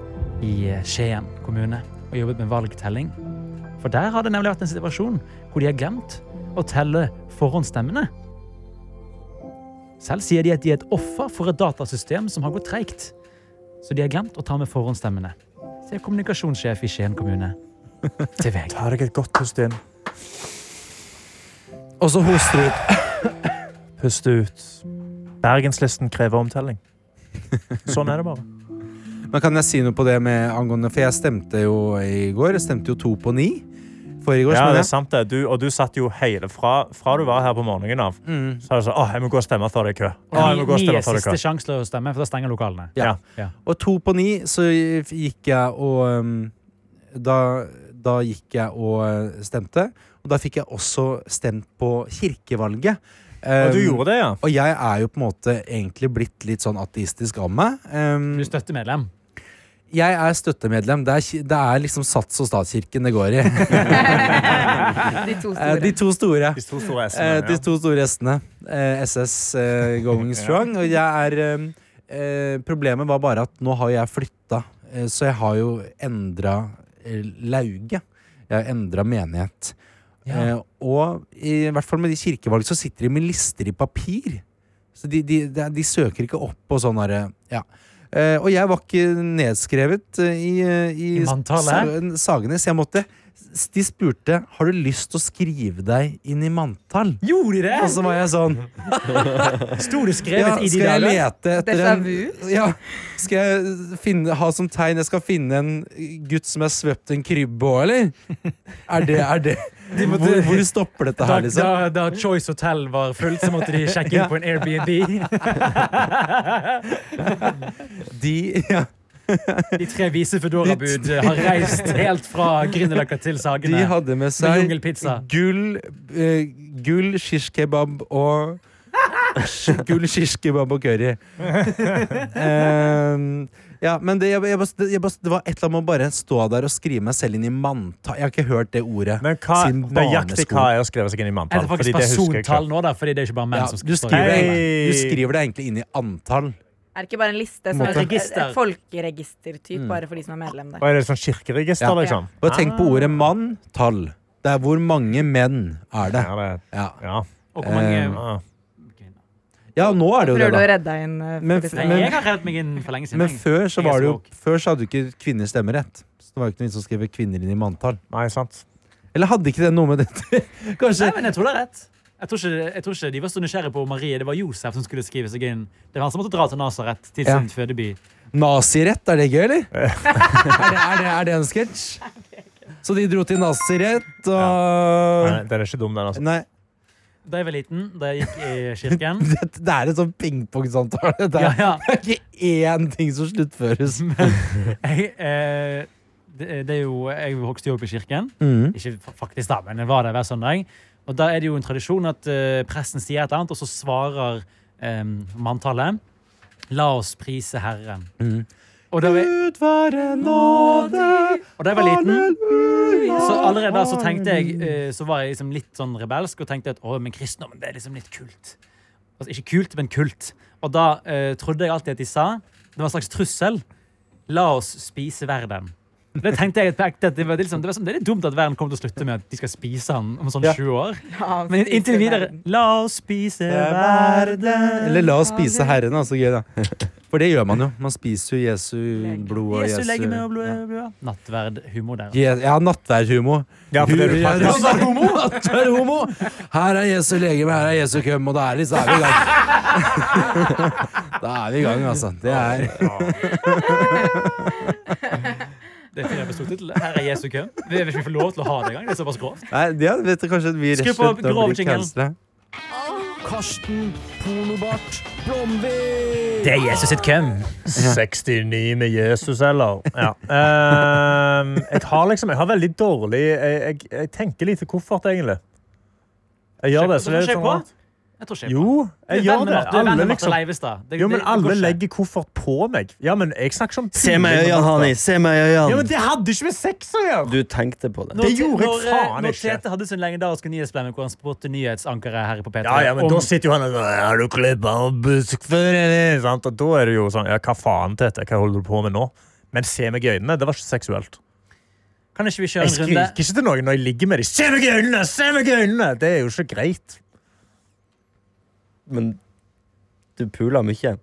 [SPEAKER 3] i eh, Skien kommune og jobbet med valgtelling. For der har det nemlig vært en situasjon hvor de har glemt å telle forhåndsstemmene. Selv sier de at de er et offer for et datasystem som har gått treigt. Så de har glemt å ta med forhåndsstemmene. Sier kommunikasjonssjef i Skien kommune til
[SPEAKER 2] [LAUGHS]
[SPEAKER 3] VG.
[SPEAKER 2] Ta deg et godt pust inn.
[SPEAKER 6] Og så hoster du ut.
[SPEAKER 2] Pust ut. Bergenslisten krever omtelling. Sånn er det bare.
[SPEAKER 6] Men kan jeg si noe på det med angående For jeg stemte jo i går. Jeg stemte jo to på ni. Forrige år.
[SPEAKER 2] Ja,
[SPEAKER 6] så
[SPEAKER 2] det
[SPEAKER 6] jeg-
[SPEAKER 2] er sant det. Du, og du satt jo hele fra, fra du var her på morgenen av. Så er det sånn, åh, jeg må gå og stemme før det er kø. Åh, jeg må gå og
[SPEAKER 3] Ni
[SPEAKER 2] stemme
[SPEAKER 3] er
[SPEAKER 2] før det
[SPEAKER 3] siste
[SPEAKER 2] er kø.
[SPEAKER 3] sjanse til å stemme, for da stenger lokalene.
[SPEAKER 2] Ja.
[SPEAKER 6] Og to på ni så gikk jeg og um, da, da gikk jeg og uh, stemte. Og da fikk jeg også stemt på kirkevalget.
[SPEAKER 2] Og du
[SPEAKER 6] Um,
[SPEAKER 2] gjorde det, ja.
[SPEAKER 6] og jeg er jo på en måte egentlig blitt litt sånn ateistisk av meg. Um,
[SPEAKER 3] Du er støttemedlem.
[SPEAKER 6] jeg er støttemedlem. Det er, ki- det er liksom Sats og statskirken det går i.
[SPEAKER 2] [LAUGHS]
[SPEAKER 4] De to
[SPEAKER 6] Eh,
[SPEAKER 4] store.
[SPEAKER 6] De to store.
[SPEAKER 2] De to store
[SPEAKER 6] Eh,
[SPEAKER 2] S-ene.
[SPEAKER 6] de to store gjestene. Eh, SS eh, Going Strong. Og jeg er eh, eh, Problemet var bare at nå har jeg flytta, eh, så jeg har jo endra eh, lauget. Jeg har endra menighet. Eh, og i hvert fall med de kirkevalg så sitter de med lister i papir. Så de, de, de, de søker ikke opp på sånn derre Ja. Eh, og jeg var ikke nedskrevet eh, i, eh, i,
[SPEAKER 3] I manntallet?
[SPEAKER 6] Sa- Sagenes. Jeg måtte s- De spurte har du lyst til å skrive deg inn i manntall.
[SPEAKER 3] Gjorde de
[SPEAKER 6] Og så var jeg sånn
[SPEAKER 3] Sto det
[SPEAKER 6] ja,
[SPEAKER 3] skrevet i de
[SPEAKER 6] Skal jeg
[SPEAKER 3] dager?
[SPEAKER 6] lete etter
[SPEAKER 4] Déjà
[SPEAKER 6] en
[SPEAKER 4] vu?
[SPEAKER 6] ja, Skal jeg finne, ha som tegn Jeg skal finne en gutt som er svøpt i en krybbe òg, eller? Er det, er det hvor, hvor stopper dette
[SPEAKER 3] Da,
[SPEAKER 6] her, liksom?
[SPEAKER 3] da, da Choice Hotel var fullt, så måtte
[SPEAKER 6] [LAUGHS]
[SPEAKER 3] de sjekke inn på en Airbnb.
[SPEAKER 6] De, ja,
[SPEAKER 3] De tre vise Foodora-bud har reist helt fra Grünerløkka til
[SPEAKER 6] de
[SPEAKER 3] Sagene.
[SPEAKER 6] hadde med
[SPEAKER 3] Med
[SPEAKER 6] seg
[SPEAKER 3] jungelpizza.
[SPEAKER 6] gull, eh, gull shish kebab og sh- Gull shish kebab og
[SPEAKER 2] [LAUGHS]
[SPEAKER 6] curry. Ehm, ja, men det, jeg, jeg, bare- jeg, bare- det var et eller annet med å bare stå der og skrive meg selv inn i manntall. Jeg har ikke hørt det ordet
[SPEAKER 2] Men hva,
[SPEAKER 6] siden
[SPEAKER 2] nøyaktig
[SPEAKER 6] barneskolen.
[SPEAKER 2] hva er å skrive seg inn i
[SPEAKER 3] Er
[SPEAKER 2] manntall?
[SPEAKER 3] det faktisk persontall nå, da? Fordi det er ikke bare menn
[SPEAKER 6] Ja,
[SPEAKER 3] som
[SPEAKER 6] du,
[SPEAKER 3] skal
[SPEAKER 6] skriver
[SPEAKER 2] Hei.
[SPEAKER 6] egentlig, du skriver det egentlig inn i antall.
[SPEAKER 4] Er det ikke bare en liste? Som
[SPEAKER 3] Måte.
[SPEAKER 4] et, et,
[SPEAKER 3] Register.
[SPEAKER 4] et folkeregistertyp, bare for de som er medlem der.
[SPEAKER 2] Og er det sånn kirkeregister,
[SPEAKER 6] Ja.
[SPEAKER 2] liksom?
[SPEAKER 6] Bare tenk på ordet mann, tall. Det er hvor mange menn er det.
[SPEAKER 2] Ja, det,
[SPEAKER 6] Ja,
[SPEAKER 2] ja. Ah,
[SPEAKER 3] Og hvor mange...
[SPEAKER 2] ja.
[SPEAKER 6] ja nå er det jo det,
[SPEAKER 4] Prøver du å
[SPEAKER 6] da.
[SPEAKER 4] redde deg inn? eh,
[SPEAKER 6] Men-
[SPEAKER 4] Fredrik?
[SPEAKER 3] Nei,
[SPEAKER 6] men-
[SPEAKER 4] [LAUGHS]
[SPEAKER 3] jeg har revet meg inn for lenge siden.
[SPEAKER 6] Men
[SPEAKER 3] jeg.
[SPEAKER 6] før så
[SPEAKER 3] Jeg er
[SPEAKER 6] var det
[SPEAKER 3] så
[SPEAKER 6] jo
[SPEAKER 3] woke.
[SPEAKER 6] Før så hadde jo ikke kvinner stemmerett. Så det var jo ikke noen som skrev kvinner inn i manntall.
[SPEAKER 2] Nei, sant.
[SPEAKER 6] Eller hadde ikke det noe med dette [LAUGHS] Kanskje
[SPEAKER 3] Nei, men jeg tror det er rett. Jeg tror, ikke, jeg tror ikke De var så nysgjerrige på Marie. Det var Josef som skulle skrive seg inn. Det var han som måtte dra til Nasaret, til
[SPEAKER 6] Ja.
[SPEAKER 3] sin fødeby.
[SPEAKER 6] Nazirett, er det gøy, eller? er, det, er, det, er det en sketsj? Så de dro til Nazirett
[SPEAKER 2] Nei, den
[SPEAKER 6] og
[SPEAKER 2] er ikke dum, den. altså.
[SPEAKER 6] Nei,
[SPEAKER 3] Da jeg var liten, da jeg gikk i kirken
[SPEAKER 6] [LAUGHS] det, det er en sånn pingpongsamtale. Det
[SPEAKER 3] ja,
[SPEAKER 6] er
[SPEAKER 3] ja.
[SPEAKER 6] ikke én ting som sluttføres.
[SPEAKER 3] Jeg, eh, det, det er jo, jeg vokste jo opp i kirken.
[SPEAKER 6] Mhm.
[SPEAKER 3] Ikke fa- faktisk da, men jeg var der hver søndag. Og da er det jo en tradisjon at eh, presten sier et eller annet, og så svarer eh, manntallet La oss prise Herren.
[SPEAKER 6] Mhm.
[SPEAKER 3] Og, da jeg,
[SPEAKER 6] Gud være nåde,
[SPEAKER 3] og da jeg var liten,
[SPEAKER 6] halleluja.
[SPEAKER 3] så allerede da så tenkte jeg eh, Så var jeg liksom litt sånn rebelsk og tenkte at å, men kristendommen det er liksom litt kult. Altså ikke kult, men kult. Og da eh, trodde jeg alltid at de sa Det var en slags trussel. La oss spise verden. Og Det tenkte jeg på ekte at det, var liksom, det, var sånn, det er litt dumt at verden kommer til å slutte med at de skal spise den om sånn
[SPEAKER 6] Ja.
[SPEAKER 3] 20 år.
[SPEAKER 4] Ja,
[SPEAKER 3] Men inntil
[SPEAKER 4] spise
[SPEAKER 3] videre
[SPEAKER 4] verden.
[SPEAKER 3] La oss spise
[SPEAKER 6] verden. Eller la oss spise
[SPEAKER 4] Halleluja.
[SPEAKER 6] Herren, altså. Gøy, da. [LAUGHS] For det gjør man jo. Man spiser jo Jesu
[SPEAKER 4] Legeme.
[SPEAKER 6] blod og
[SPEAKER 3] Jesu
[SPEAKER 6] Jesu
[SPEAKER 3] legeme og blod,
[SPEAKER 6] Ja.
[SPEAKER 3] blod. Nattverd humor der.
[SPEAKER 6] Je- Ja, nattverdhumo.
[SPEAKER 2] Ja, for det er du
[SPEAKER 6] Ja,
[SPEAKER 2] faktisk.
[SPEAKER 6] nattverdhumo, nattverdhumo. Her er Jesu legeme, her er Jesu køm, og da er, vi- så er vi i [LAUGHS] gang. Da er vi i gang, altså. Det er
[SPEAKER 3] Det finner jeg episodetittel. Her er Jesu køm. Vi vet ikke om vi får lov til å ha det engang. Det er såpass grovt.
[SPEAKER 6] Nei, ja, vet du, kanskje vi rett
[SPEAKER 3] Skru
[SPEAKER 6] og
[SPEAKER 3] på
[SPEAKER 6] slett da blir
[SPEAKER 3] grovjinglen.
[SPEAKER 6] cancela.
[SPEAKER 8] Karsten, pornobart, Blomvik.
[SPEAKER 3] Det er Jesus sitt køm.
[SPEAKER 2] 69 med Jesus, eller? Ja. Ehm, jeg har liksom Jeg har veldig dårlig Jeg, jeg, jeg tenker lite koffert, egentlig. Jeg gjør det. så det er litt sånn rart.
[SPEAKER 3] Jeg tror ikke jeg er på.
[SPEAKER 2] Jo,
[SPEAKER 3] Du er
[SPEAKER 2] jeg gjør
[SPEAKER 3] venn med
[SPEAKER 2] det.
[SPEAKER 3] Marte- du er venn
[SPEAKER 2] Alle,
[SPEAKER 3] med Marte
[SPEAKER 2] liksom,
[SPEAKER 3] Leivestad. Det-
[SPEAKER 2] jo, men
[SPEAKER 3] det- det går
[SPEAKER 2] alle
[SPEAKER 3] ikke.
[SPEAKER 2] legger koffert på meg. Ja, men jeg snakker ikke om
[SPEAKER 5] Se meg i
[SPEAKER 2] piller,
[SPEAKER 5] øynene,
[SPEAKER 2] Marte.
[SPEAKER 5] Hani! Se meg i
[SPEAKER 2] Ja, men
[SPEAKER 5] øynene!
[SPEAKER 2] Det hadde ikke med sex å gjøre!
[SPEAKER 5] Du tenkte på det.
[SPEAKER 3] Når
[SPEAKER 2] Det
[SPEAKER 3] Te-
[SPEAKER 2] gjorde jeg
[SPEAKER 3] når, eh,
[SPEAKER 2] faen
[SPEAKER 3] Når
[SPEAKER 2] ikke.
[SPEAKER 3] Tete hadde sin legendariske nyhetsblemme hvor han spurte nyhetsankeret her på P3
[SPEAKER 2] Ja, ja, men
[SPEAKER 3] om-
[SPEAKER 2] da sitter jo han og sånn, Har du klippa av busk før, eller? Sant? Og da er det jo sånn Ja, hva faen, Tete? Hva holder du på med nå? Men se meg i øynene. Det var ikke seksuelt.
[SPEAKER 3] Kan ikke vi kjøre
[SPEAKER 2] Jeg
[SPEAKER 3] en runde?
[SPEAKER 2] skriker ikke til noen når jeg ligger med dem. Se meg i øynene! Se meg i øynene! Det er jo ikke greit.
[SPEAKER 5] Men du puler mye.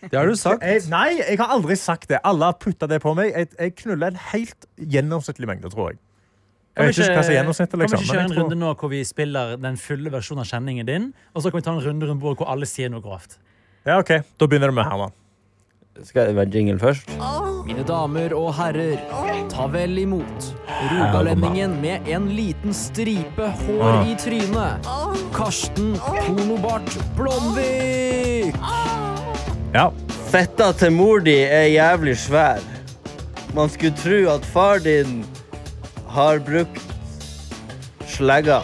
[SPEAKER 6] Det har du sagt.
[SPEAKER 2] Jeg, nei, jeg har aldri sagt det. Alle har putta det på meg. Jeg, jeg knuller en helt gjennomsnittlig mengde, tror jeg. Jeg vet ikke hva som er gjennomsnittet,
[SPEAKER 3] Kan vi
[SPEAKER 2] liksom.
[SPEAKER 3] ikke
[SPEAKER 2] men
[SPEAKER 3] kjøre
[SPEAKER 2] jeg
[SPEAKER 3] en
[SPEAKER 2] tror-
[SPEAKER 3] runde nå hvor vi spiller den fulle versjonen av kjenningen din, og så kan vi ta en runde rundt bordet hvor alle sier noe grovt?
[SPEAKER 2] Ja, OK. Da begynner det med Herman.
[SPEAKER 5] Skal det være jingle først?
[SPEAKER 8] Mine damer og herrer, ta vel imot rogalendingen med en liten stripe hår
[SPEAKER 6] Ah.
[SPEAKER 8] i trynet. Karsten Pornobart Blomvik!
[SPEAKER 2] Ja.
[SPEAKER 5] Fetta til mor di er jævlig svær. Man skulle tro at far din har brukt slegga.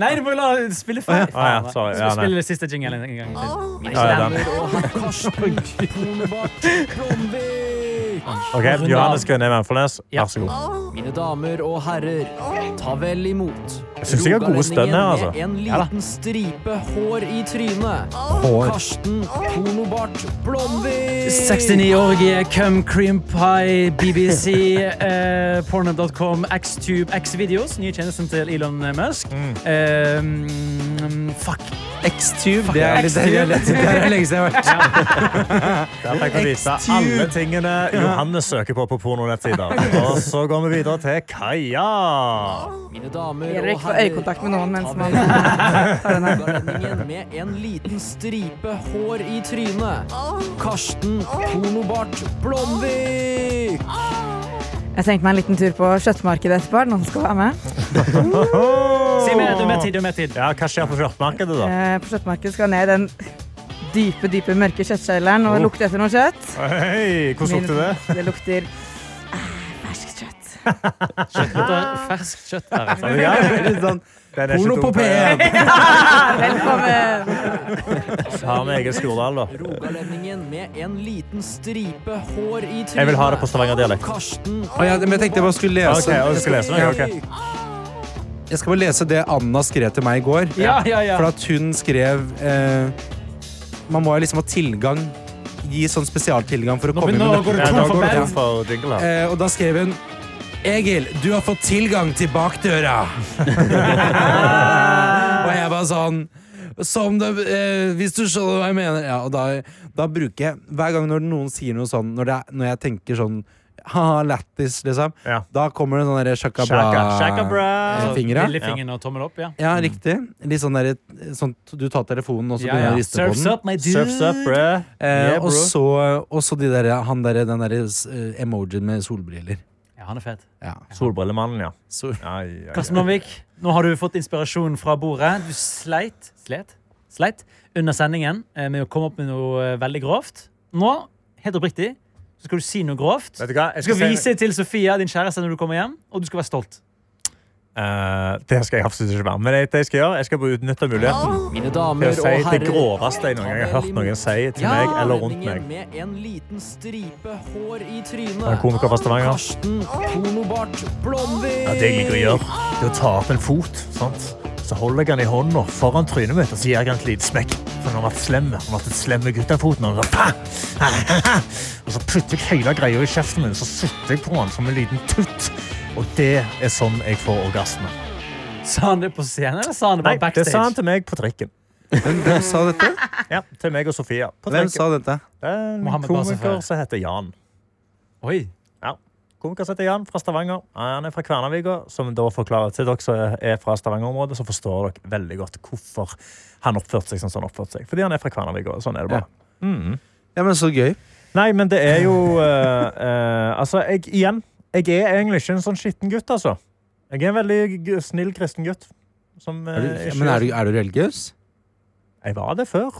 [SPEAKER 3] Nei, du må jo la spille ferdig.
[SPEAKER 2] Ah, ja, sorry. Ja,
[SPEAKER 3] Så
[SPEAKER 2] nei.
[SPEAKER 3] Spill siste jingle en gang til.
[SPEAKER 8] Mine
[SPEAKER 2] Ja, ja, den.
[SPEAKER 8] damer og
[SPEAKER 6] [LAUGHS]
[SPEAKER 8] herrer, Karsten Pornobart Blomvik!
[SPEAKER 2] OK, Johannes Grønne Menfornes,
[SPEAKER 3] Ja.
[SPEAKER 2] vær så god.
[SPEAKER 8] Mine damer og herrer, ta vel imot
[SPEAKER 2] Jeg synes jeg har gode stønn her, altså.
[SPEAKER 8] med en
[SPEAKER 2] Ja da.
[SPEAKER 8] liten stripe hår i trynet.
[SPEAKER 2] Hår.
[SPEAKER 8] Karsten Pornobart Blomvik!
[SPEAKER 3] 69-årige cum cream pie, BBC, [LAUGHS] eh, pornhub.com, Xtube, Xvideos, nye tjenesten til Elon Musk. Eh, mm, fuck.
[SPEAKER 6] X-Tube. Det er litt- det er litt- det er lenge siden jeg har vært
[SPEAKER 2] Der fikk vi vite alle tingene Johannes søker på på pornonettsider. Og så går vi videre til Kaja.
[SPEAKER 8] Mine damer og
[SPEAKER 4] Det gjelder
[SPEAKER 8] herrer,
[SPEAKER 4] ikke å få øyekontakt med noen mens
[SPEAKER 8] ta
[SPEAKER 4] man- [LAUGHS]
[SPEAKER 8] vel imot
[SPEAKER 4] Ta den her.
[SPEAKER 8] rogalendingen med en liten stripe hår i trynet. Karsten Pornobart Blomvik!
[SPEAKER 4] Jeg tenkte meg en liten tur på kjøttmarkedet etterpå. Er det Noen som skal være med.
[SPEAKER 3] Si mer, du har mer tid, du har mer tid.
[SPEAKER 2] Ja, hva skjer på kjøttmarkedet, da?
[SPEAKER 4] Eh, på kjøttmarkedet skal jeg ned i den dype, dype mørke kjøttkjelleren og lukte etter noe kjøtt.
[SPEAKER 2] Hei, hvordan lukter det?
[SPEAKER 4] Det lukter ah, ferskt kjøtt.
[SPEAKER 3] Ferskt kjøtt der. altså.
[SPEAKER 2] Ja, litt sånn
[SPEAKER 6] Porno på
[SPEAKER 2] eh,
[SPEAKER 6] P1.
[SPEAKER 4] Velkommen.
[SPEAKER 2] Har med egen Skurdal, da.
[SPEAKER 8] Rogalendingen med en liten stripe hår i trynet.
[SPEAKER 2] Jeg vil ha det på stavangerdialekt.
[SPEAKER 8] Karsten
[SPEAKER 6] Å, ja, men jeg tenkte jeg bare skulle
[SPEAKER 2] Ok,
[SPEAKER 6] lese.
[SPEAKER 2] og du skal lese noe? ok.
[SPEAKER 6] Jeg skal bare lese det Anna skrev til meg i går.
[SPEAKER 3] Ja, ja, ja.
[SPEAKER 6] For at hun skrev eh, Man må jo liksom ha tilgang. Gi sånn spesialtilgang for å komme inn
[SPEAKER 3] nå
[SPEAKER 6] med
[SPEAKER 3] går
[SPEAKER 2] Ja,
[SPEAKER 3] det
[SPEAKER 2] da
[SPEAKER 3] tom
[SPEAKER 6] nøkkelen.
[SPEAKER 3] for
[SPEAKER 2] går det tom
[SPEAKER 3] band.
[SPEAKER 2] for jingle her.
[SPEAKER 6] Eh, og da skrev hun Egil, du har fått tilgang til bakdøra.
[SPEAKER 3] [LAUGHS]
[SPEAKER 6] og jeg bare sånn som det, eh, Hvis du skjønner hva jeg mener. Ja, og da, da bruker jeg Hver gang når noen sier noe sånn, når, det, er- når jeg tenker sånn ha-ha, lættis, liksom,
[SPEAKER 2] Ja.
[SPEAKER 6] da kommer det sånn derre
[SPEAKER 2] Shaka, shaka,
[SPEAKER 6] shakabra.
[SPEAKER 2] bra.
[SPEAKER 3] Så
[SPEAKER 6] Fingre.
[SPEAKER 3] Lillefingeren og tommel opp, ja.
[SPEAKER 2] Mm.
[SPEAKER 6] Ja, riktig. Litt sånn derre sånn, Du tar telefonen, og så
[SPEAKER 3] Ja,
[SPEAKER 6] begynner
[SPEAKER 3] ja.
[SPEAKER 6] du å riste på
[SPEAKER 3] Surfs
[SPEAKER 6] den.
[SPEAKER 3] up, my dude.
[SPEAKER 2] Surfs up, bro.
[SPEAKER 6] Eh,
[SPEAKER 2] Yeah,
[SPEAKER 6] og
[SPEAKER 2] bro.
[SPEAKER 6] så, og så de der, han derre- den derre eh, emojien med solbriller.
[SPEAKER 3] Ja, han er fet.
[SPEAKER 6] Ja.
[SPEAKER 2] Solbrillemannen, ja.
[SPEAKER 6] Så,
[SPEAKER 2] Ai, ai, ai.
[SPEAKER 3] Karsten Blomvik, nå har du fått inspirasjon fra bordet. Du sleit, slet, sleit under sendingen eh, med å komme opp med noe eh, veldig grovt. Nå, helt oppriktig, så skal du si noe grovt.
[SPEAKER 2] Vet du hva?
[SPEAKER 3] Du skal vise til Sofia, din kjæreste, når du kommer hjem, og du skal være stolt.
[SPEAKER 2] Eh, det skal jeg absolutt ikke være. Men det jeg skal gjøre, jeg skal bare utnytte muligheten
[SPEAKER 8] Mine
[SPEAKER 2] til
[SPEAKER 8] damer
[SPEAKER 2] å si
[SPEAKER 8] og
[SPEAKER 2] det
[SPEAKER 8] herrer,
[SPEAKER 2] groveste jeg noen gang har hørt noen si til meg eller rundt
[SPEAKER 8] rogalendingen
[SPEAKER 2] meg.
[SPEAKER 8] Med en liten stripe hår i
[SPEAKER 2] Det er en
[SPEAKER 8] trynet.
[SPEAKER 2] Komiker fra Stavanger.
[SPEAKER 8] Karsten Pornobart Blomvik!
[SPEAKER 2] Ja, det jeg liker å gjøre, det er å ta opp en fot. Sant? Så holder jeg den i hånda foran trynet mitt og så gir jeg den et lite smekk. For han har vært slem. Han har vært et slemme guttefot. Og, [LAUGHS] og så putter jeg hele greia i kjeften min, så sutter jeg på den som en liten tutt. Og det er sånn jeg får orgasme.
[SPEAKER 3] Sa han det på scenen, eller sa han det bare backstage?
[SPEAKER 2] til meg på trikken.
[SPEAKER 6] hvem, hvem sa dette?
[SPEAKER 2] [LAUGHS] Ja, til meg og Sofia. På
[SPEAKER 6] Hvem
[SPEAKER 2] trikken.
[SPEAKER 6] sa dette?
[SPEAKER 2] Det er en
[SPEAKER 3] Mohammed
[SPEAKER 2] komiker
[SPEAKER 3] Basafar.
[SPEAKER 2] som heter Jan.
[SPEAKER 3] Oi.
[SPEAKER 2] Ja. Komiker som heter Jan fra Stavanger. Han er fra Kværnervika, som da forklarer til dere som er fra Stavanger-området, så forstår dere veldig godt hvorfor han oppførte seg sånn som han oppførte seg. Fordi han er fra Kværnervika, og sånn er det bare. Mhm.
[SPEAKER 6] Ja, men så gøy.
[SPEAKER 2] Nei, men det er jo eh, eh, Altså, jeg, igjen, jeg er egentlig ikke en sånn skitten gutt, altså. Jeg er en veldig g- snill kristen gutt. Som, eh,
[SPEAKER 6] Er du,
[SPEAKER 2] ikke-
[SPEAKER 6] men er du, er du religiøs?
[SPEAKER 2] Jeg var det før.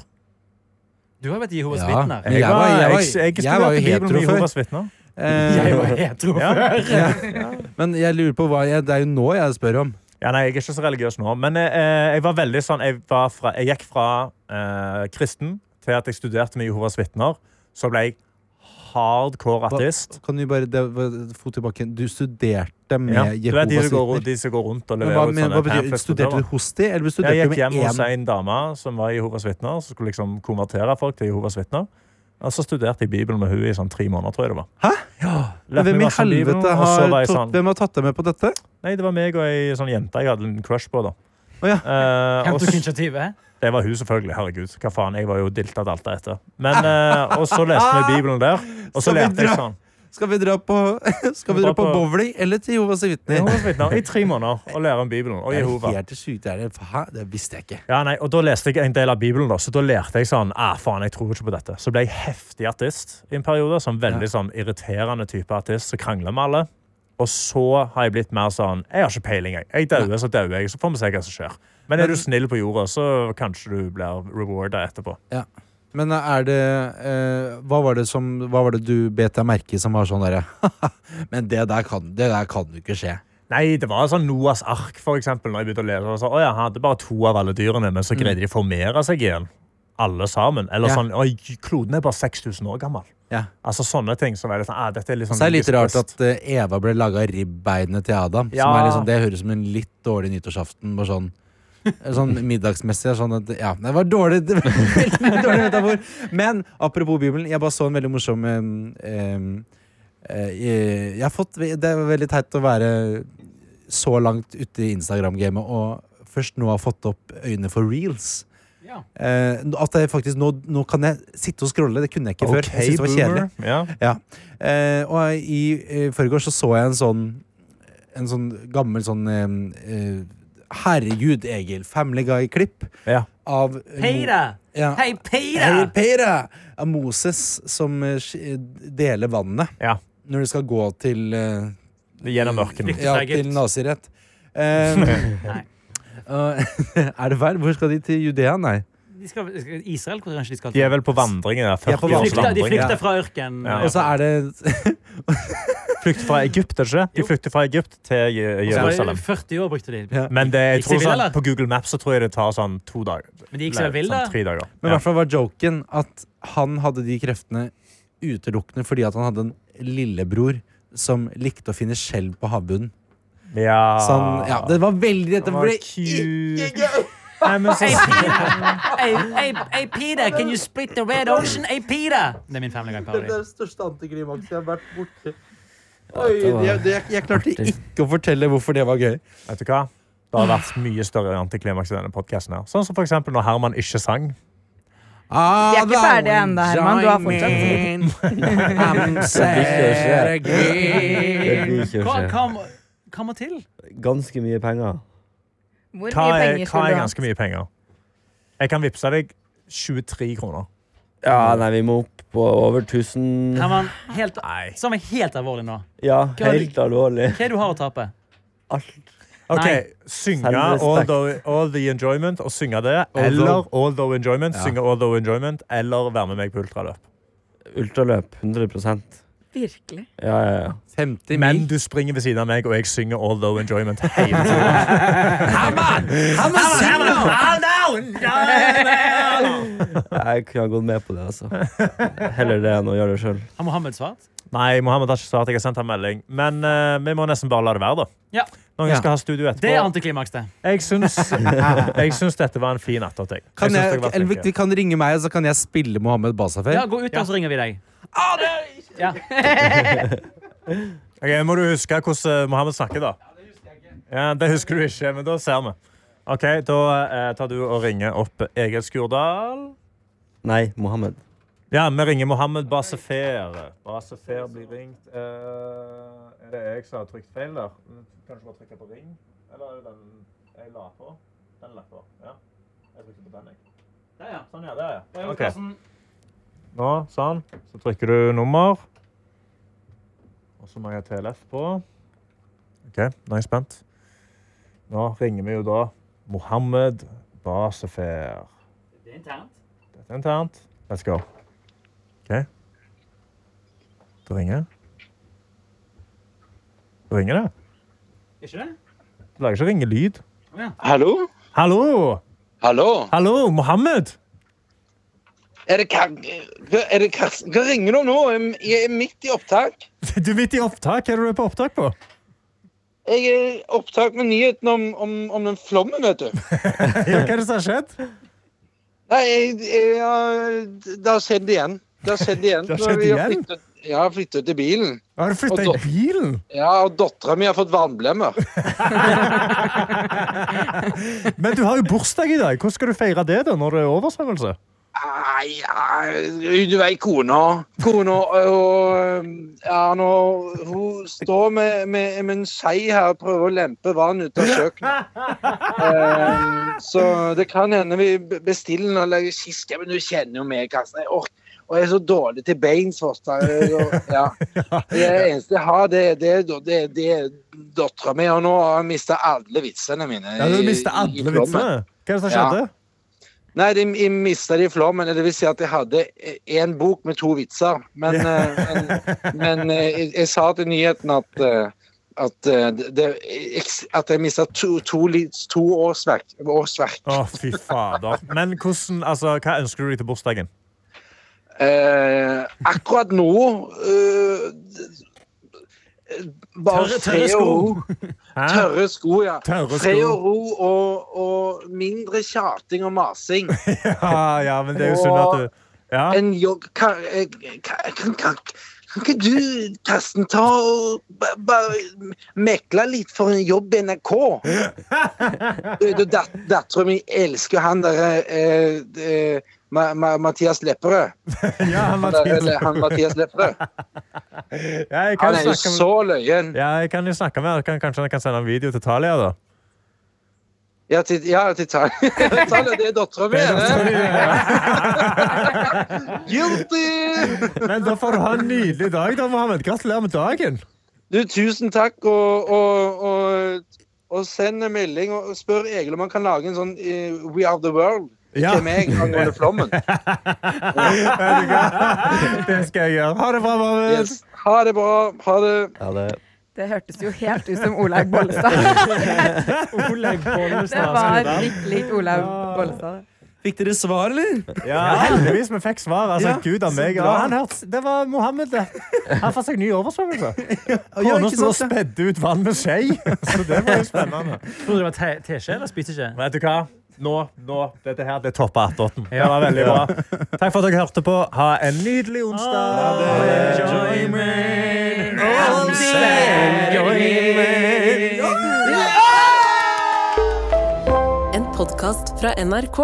[SPEAKER 3] Du har vært Jehovas
[SPEAKER 6] Ja.
[SPEAKER 3] vitner.
[SPEAKER 6] Men jeg var- jeg var-
[SPEAKER 2] jeg,
[SPEAKER 6] jeg var jo
[SPEAKER 2] studerte Bibelen
[SPEAKER 6] hetero
[SPEAKER 2] med
[SPEAKER 6] før.
[SPEAKER 2] Jehovas vitner.
[SPEAKER 3] Jeg
[SPEAKER 2] [LAUGHS]
[SPEAKER 6] Eh,
[SPEAKER 3] var hetero
[SPEAKER 2] Ja.
[SPEAKER 6] [LAUGHS]
[SPEAKER 3] før.
[SPEAKER 6] men jeg lurer på hva jeg, Det er jo nå jeg spør om.
[SPEAKER 2] Ja, nei, jeg er ikke så religiøs nå, men eh, jeg var veldig sånn Jeg, var fra, jeg gikk fra eh, kristen til at jeg studerte med Jehovas vitner. Så ble jeg hardcore
[SPEAKER 6] Hva-
[SPEAKER 2] ateist.
[SPEAKER 6] Kan du bare det, var- Fot tilbake. Du studerte med
[SPEAKER 2] Ja. Du vet de
[SPEAKER 6] Jehovas
[SPEAKER 2] som går, rundt-
[SPEAKER 6] vitner.
[SPEAKER 2] de som går rundt og
[SPEAKER 6] Men hva,
[SPEAKER 2] leverer ut
[SPEAKER 6] men,
[SPEAKER 2] sånne
[SPEAKER 6] hva betyr,
[SPEAKER 2] pamphlets på
[SPEAKER 6] studerte
[SPEAKER 2] døra?
[SPEAKER 6] du hos de, eller studerte
[SPEAKER 2] Jeg
[SPEAKER 6] du
[SPEAKER 2] gikk
[SPEAKER 6] med
[SPEAKER 2] hjem hos
[SPEAKER 6] én?
[SPEAKER 2] en dame som var Jehovas vitner, som skulle liksom konvertere folk til Jehovas vitner. Og så studerte jeg Bibelen med henne i sånn tre måneder, tror jeg det var.
[SPEAKER 6] Hæ?
[SPEAKER 2] Ja, lærte meg
[SPEAKER 6] Hvem i
[SPEAKER 2] masse om Bibelen,
[SPEAKER 6] helvete
[SPEAKER 2] og så
[SPEAKER 6] har
[SPEAKER 2] var jeg
[SPEAKER 6] tatt,
[SPEAKER 2] sånn-
[SPEAKER 6] hvem har tatt deg med på dette?
[SPEAKER 2] Nei, det var meg og ei sånn jente jeg hadde en crush på, da.
[SPEAKER 6] Å ja.
[SPEAKER 2] Eh,
[SPEAKER 3] Hvem
[SPEAKER 2] og
[SPEAKER 3] tok
[SPEAKER 2] s-
[SPEAKER 3] initiativet?
[SPEAKER 2] Det var hun, selvfølgelig. Herregud. Hva faen, jeg var jo diltet alt det etter. Men, eh, og så leste vi Bibelen der, og så
[SPEAKER 6] Skal vi
[SPEAKER 2] lærte jeg
[SPEAKER 6] dra-
[SPEAKER 2] sånn.
[SPEAKER 6] Skal vi dra på, [LAUGHS] skal vi dra på bowling eller til Jehovas vitner?
[SPEAKER 2] Jehovas vitner i tre måneder og lære om Bibelen og
[SPEAKER 6] Det er
[SPEAKER 2] Jehova.
[SPEAKER 6] helt sykt. Det, er det, hæ? det visste jeg ikke.
[SPEAKER 2] Ja, nei, og Da leste jeg en del av Bibelen, da, så da lærte jeg sånn ah, faen, jeg tror ikke på dette. Så ble jeg heftig ateist i en periode. Sånn veldig sånn irriterende type ateist som krangler med alle. Og så har jeg blitt mer sånn Jeg har ikke peiling, jeg. Jeg dauer, så dauer jeg. Så får vi se hva som skjer. Men er du snill på jorda, så kanskje du blir rewarda etterpå.
[SPEAKER 6] Men er det eh, hva, var det som, hva var det du bet deg merke i som var sånn derre Men det der [LAUGHS] kan det der kan jo ikke skje.
[SPEAKER 2] Nei, det var sånn Noas ark, for eksempel, når jeg begynte å lese. Og så, å, ja, han hadde bare to av alle dyrene, men så greide de å formere seg igjen. Alle sammen. Eller
[SPEAKER 6] Ja.
[SPEAKER 2] sånn Oi, kloden er bare 6000 år gammel.
[SPEAKER 6] Ja.
[SPEAKER 2] Altså sånne ting som er litt sånn ah, dette er litt sånn
[SPEAKER 6] Så er det litt rart
[SPEAKER 2] logisk
[SPEAKER 6] at eh, Eva ble laga av ribbeinet til Adam. Som
[SPEAKER 2] Ja.
[SPEAKER 6] er liksom, det høres ut som en litt dårlig nyttårsaften. Bare sånn
[SPEAKER 2] [LAUGHS]
[SPEAKER 6] Sånn middagsmessig. er Sånn at, ja, det var dårlig, [LAUGHS] det var veldig dårlig metafor. Men apropos Bibelen, jeg bare så en veldig morsom eh, eh, eh, jeg har fått, Det er veldig teit å være så langt ute i Instagram-gamet og først nå har fått opp øynene for reels.
[SPEAKER 3] Ja.
[SPEAKER 6] Eh, at jeg faktisk, nå, nå kan jeg sitte og scrolle. Det kunne jeg ikke før. Jeg synes det var kjedelig.
[SPEAKER 2] Ja.
[SPEAKER 6] Eh, og i eh, forgårs så så jeg en sånn En sånn gammel sånn eh, eh, Herregud, Egil. Family Guy-klipp
[SPEAKER 2] Ja.
[SPEAKER 6] av
[SPEAKER 8] Peter!
[SPEAKER 6] Ja.
[SPEAKER 8] Hei,
[SPEAKER 6] Hei,
[SPEAKER 8] Peter!
[SPEAKER 6] Peter! Av Moses som eh, sk- deler vannet
[SPEAKER 2] Ja.
[SPEAKER 6] når de skal gå til eh,
[SPEAKER 2] Gjennom ørkenen.
[SPEAKER 6] Ja,
[SPEAKER 3] Egypt.
[SPEAKER 6] til nazirett.
[SPEAKER 2] [LAUGHS]
[SPEAKER 3] Nei.
[SPEAKER 6] Eh, og- [LAUGHS] er det feil? Hvor skal de? Til Judea? Nei.
[SPEAKER 3] De skal, skal Israel, hvor kanskje de skal
[SPEAKER 2] De er vel på vandringen. der, 40
[SPEAKER 6] på
[SPEAKER 3] De
[SPEAKER 2] års
[SPEAKER 3] flykter, de
[SPEAKER 2] vandring.
[SPEAKER 3] flykter fra ørken.
[SPEAKER 2] Ja.
[SPEAKER 6] Og så er det
[SPEAKER 2] Flykter fra Egypt, er det ikke?
[SPEAKER 3] Jo.
[SPEAKER 2] De flykter fra Egypt til Je-
[SPEAKER 3] Og så var det
[SPEAKER 2] Jerusalem.
[SPEAKER 3] 40 år brukte de.
[SPEAKER 6] Ja.
[SPEAKER 2] Men det, jeg
[SPEAKER 3] Gikk de
[SPEAKER 2] tror
[SPEAKER 3] vill,
[SPEAKER 2] sånn,
[SPEAKER 3] eller?
[SPEAKER 2] på Google Maps så tror jeg det tar sånn to dager.
[SPEAKER 3] Men de gikk seg vill,
[SPEAKER 2] sånn
[SPEAKER 3] da.
[SPEAKER 2] tre dager.
[SPEAKER 6] Men i
[SPEAKER 2] Ja.
[SPEAKER 6] hvert fall var joken at han hadde de kreftene utelukkende fordi at han hadde en lillebror som likte å finne skjell på havbunnen.
[SPEAKER 2] Ja.
[SPEAKER 6] Så han- Sånn, ja, Ah. det var veldig Dette
[SPEAKER 2] Det var
[SPEAKER 6] ble
[SPEAKER 2] cute. Nei, men så
[SPEAKER 8] Hey, hey, hey, Peter, can you split the red ocean? Hey, Peter!
[SPEAKER 3] Det er min Family Guy-parodi.
[SPEAKER 6] den største antiklimaksen jeg har vært borti. Oi, jeg, jeg, jeg klarte ikke å fortelle hvorfor det var gøy.
[SPEAKER 2] Vet du hva? Det har vært mye større antiklimaks i denne podkasten. Sånn som for eksempel når Herman ikke sang.
[SPEAKER 4] Vi
[SPEAKER 6] Ah,
[SPEAKER 4] er ikke ferdige ennå, Herman. Du har fortsatt tid.
[SPEAKER 6] [LAUGHS] I'm sad again.
[SPEAKER 5] Det blir ikke å
[SPEAKER 3] Hva,
[SPEAKER 5] skje.
[SPEAKER 3] hva, må- hva må til?
[SPEAKER 5] Ganske mye penger.
[SPEAKER 4] Hvor
[SPEAKER 2] Hva
[SPEAKER 4] mye
[SPEAKER 2] er,
[SPEAKER 4] penger
[SPEAKER 2] hva
[SPEAKER 4] skulle
[SPEAKER 2] er
[SPEAKER 4] du ha?
[SPEAKER 2] ganske mye penger? Jeg kan vippse deg 23 kroner.
[SPEAKER 5] Ja, nei, vi må opp på over 1000.
[SPEAKER 3] Herman, helt,
[SPEAKER 2] Nei.
[SPEAKER 3] som er helt alvorlig nå.
[SPEAKER 5] Ja, helt alvorlig.
[SPEAKER 3] Hva er det du har å tape?
[SPEAKER 2] OK.
[SPEAKER 3] Nei.
[SPEAKER 2] Synge
[SPEAKER 5] Selvrespekt.
[SPEAKER 2] all, the- all the enjoyment og synge det. Eller all the enjoyment, synge all the enjoyment, eller være med meg på ultraløp.
[SPEAKER 5] Ultraløp 100
[SPEAKER 4] Virkelig.
[SPEAKER 5] Ja, ja, ja.
[SPEAKER 6] 50 mil.
[SPEAKER 2] Men du springer ved siden av meg, og jeg synger all the enjoyment hele tiden.
[SPEAKER 5] Jeg kunne ha gått med på det, altså. Heller det enn å gjøre det sjøl.
[SPEAKER 3] Har Mohammed svart?
[SPEAKER 2] Nei, Mohammed har ikke svart. Jeg har sendt ham melding. Men eh, vi må nesten bare la det være, da.
[SPEAKER 3] Ja.
[SPEAKER 2] Noen
[SPEAKER 6] Ja.
[SPEAKER 2] skal ha studio etterpå.
[SPEAKER 3] Det er antiklimaks, det.
[SPEAKER 2] Jeg syns, jeg syns dette var en fin natt. Jeg.
[SPEAKER 6] Kan,
[SPEAKER 2] syns
[SPEAKER 6] jeg,
[SPEAKER 2] dere var
[SPEAKER 6] eller,
[SPEAKER 2] flinke.
[SPEAKER 6] de kan ringe meg, så kan jeg spille Mohammed Basafer.
[SPEAKER 3] Ja, Gå ut, og så ringer vi deg. Ja.
[SPEAKER 2] Ok, Må du huske hvordan eh, Mohammed snakker, da? Ja, Det husker du ikke, men da ser vi. OK, da eh, tar du og ringer opp Egil Skurdal.
[SPEAKER 5] Nei, Mohammed.
[SPEAKER 2] Ja, vi ringer Mohammed Basefer. Basefer blir ringt. Eh, er det jeg som har trykt feil der? Kan du bare trykke på ring? Eller er det den jeg la på? Den la på, ja. Jeg trykker på den, jeg. Sånn, ja. Der, ja. Ok. Nå, sånn. Så trykker du nummer. Og så må jeg ha TLF på. OK, nå er jeg spent. Nå ringer vi jo da Mohammed Basefer.
[SPEAKER 3] Det er internt.
[SPEAKER 2] Dette er internt. Let's go. OK. Det ringer. Det ringer, det.
[SPEAKER 3] Ikke det?
[SPEAKER 2] Det lager ikke ringelyd.
[SPEAKER 9] Hallo?
[SPEAKER 2] Hallo!
[SPEAKER 9] Hallo?
[SPEAKER 2] Hallo, Mohammed!
[SPEAKER 9] Er det Kar... Hva- Er det Karsten? Hva ringer du om nå? Jeg- Jeg er midt i opptak.
[SPEAKER 2] Du er midt i opptak. Hva er det du er på opptak på?
[SPEAKER 9] Jeg er i opptak med nyheten om, om, om den flommen, vet du.
[SPEAKER 2] Ja, Hva er det som har skjedd?
[SPEAKER 9] Nei, jeg, jeg, ja, det har skjedd igjen. Det har skjedd igjen.
[SPEAKER 2] Det har skjedd
[SPEAKER 9] Nå har vi
[SPEAKER 2] igjen?
[SPEAKER 9] flyttet- Jeg har flytta ut i bilen.
[SPEAKER 10] Har du flytta
[SPEAKER 9] Og
[SPEAKER 10] i
[SPEAKER 9] da-
[SPEAKER 10] bilen?
[SPEAKER 9] Ja, og dattera mi har fått vannblemmer.
[SPEAKER 2] Men du har jo bursdag i dag. Hvordan skal du feire det da, når det er oversvømmelse?
[SPEAKER 9] Nei, ja, du vet kona. Kona og Ja, nå Hun står med, med, med en skei her og prøver å lempe vann ut av kjøkkenet. Eh, så det kan hende vi b- bestiller noe eller kiske, men du kjenner jo meg, Karsten. Jeg ork- og jeg er så dårlig til beinsforster. Ja. Det eneste jeg har, det, det, det, det er dattera mi. Og nå har jeg mista alle vitsene mine.
[SPEAKER 10] Ja, du
[SPEAKER 9] i-
[SPEAKER 10] mistet
[SPEAKER 9] i- i
[SPEAKER 10] alle
[SPEAKER 9] flommen.
[SPEAKER 10] vitsene.
[SPEAKER 2] Hva er det som
[SPEAKER 9] Ja.
[SPEAKER 2] skjedde?
[SPEAKER 9] Nei, de, de mista de flommen. Det vil si at jeg hadde én bok med to vitser. Men, eh, men, men eh, jeg, jeg sa til nyheten at eh, at, eh, det, jeg- at jeg mista to, to, li- to årsverk. årsverk.
[SPEAKER 2] Å, fy fader. Men hvordan, altså, hva ønsker du deg til bursdagen?
[SPEAKER 9] Eh, akkurat nå eh, d- Bare
[SPEAKER 3] Tørre- tørre
[SPEAKER 9] fred og
[SPEAKER 3] sko. [LAUGHS]
[SPEAKER 9] ro. Tørre sko, ja.
[SPEAKER 2] Tørre
[SPEAKER 9] Fred
[SPEAKER 2] sko.
[SPEAKER 9] og ro og, og mindre tjating og masing.
[SPEAKER 2] [LAUGHS] Ja, ja, men det er jo synd at du ja.
[SPEAKER 9] en jogg... Kan, eh, kan, kan, kan, kan ikke du, Karsten, ta og ba- bare mekle litt for en jobb i NRK? [LAUGHS] Dattera mi elsker jo han derre eh, eh, Ma, Ma, Mathias Lepperød.
[SPEAKER 2] ja, han
[SPEAKER 9] Han,
[SPEAKER 2] var
[SPEAKER 9] der,
[SPEAKER 2] tidlig.
[SPEAKER 9] eller han Mathias Lepperød.
[SPEAKER 2] Ja, jeg kan
[SPEAKER 9] Han er
[SPEAKER 2] jo
[SPEAKER 9] jo
[SPEAKER 2] snakke med
[SPEAKER 9] så løyen.
[SPEAKER 2] ja, jeg kan jo snakke med han. Kan- Kanskje han kan sende en video til Talia, da?
[SPEAKER 9] Ja, til, ja, [LAUGHS] til Tal- Talia. Det er dattera mi, er det? [LAUGHS] Guilty!
[SPEAKER 2] Men da får du ha en nydelig dag, da, Mohammed. Gratulerer med dagen.
[SPEAKER 9] Du, tusen takk, og, og, og, og send en melding og spør Egil om han kan lage en sånn eh, We Are The World
[SPEAKER 2] Ja.
[SPEAKER 9] til meg angående flommen.
[SPEAKER 2] det skal jeg gjøre. Ha det bra, Mohammed.
[SPEAKER 9] Yes. Ha det bra. Ha det.
[SPEAKER 5] Ja, det,
[SPEAKER 4] Det hørtes jo helt ut som Olaug Bollestad.
[SPEAKER 3] Oleg
[SPEAKER 4] Det
[SPEAKER 3] Bollestad.
[SPEAKER 4] var virkelig ikke Olaug Bollestad.
[SPEAKER 6] Fikk dere svar, eller?
[SPEAKER 2] Ja, heldigvis vi fikk svar. Altså,
[SPEAKER 6] Ja,
[SPEAKER 2] Gud av
[SPEAKER 6] så
[SPEAKER 2] meg.
[SPEAKER 6] bra.
[SPEAKER 2] Ja, han hørte, det var Mohammed, det. Han fant seg ny [LAUGHS] oversvømmelse.
[SPEAKER 6] ja,
[SPEAKER 2] Kona
[SPEAKER 6] ikke
[SPEAKER 2] sto og
[SPEAKER 6] sant,
[SPEAKER 2] spedde ut vann med [LAUGHS] skje. Så det var jo spennende.
[SPEAKER 3] Tror du det var te- teskje eller spiseskje?
[SPEAKER 2] Vet du hva? Nå, nå, dette her, det topper attåten. Det var veldig bra. Takk for at dere hørte på. Ha en nydelig onsdag.
[SPEAKER 3] Enjoy me. Enjoy me.
[SPEAKER 11] En podkast fra NRK.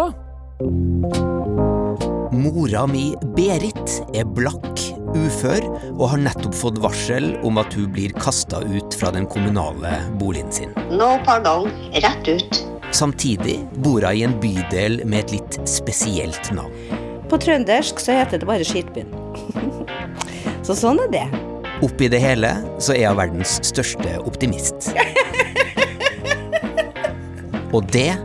[SPEAKER 8] Mora mi, Berit, er blakk, ufør og har nettopp fått varsel om at hun blir kasta ut fra den kommunale boligen sin.
[SPEAKER 7] No pardon. Rett ut.
[SPEAKER 8] Samtidig bor hun i en bydel med et litt spesielt navn.
[SPEAKER 11] På trøndersk så heter det bare skitbyen. [LAUGHS] så sånn er det.
[SPEAKER 8] Oppi det hele så er hun verdens største
[SPEAKER 7] [LAUGHS]
[SPEAKER 8] optimist. Og det er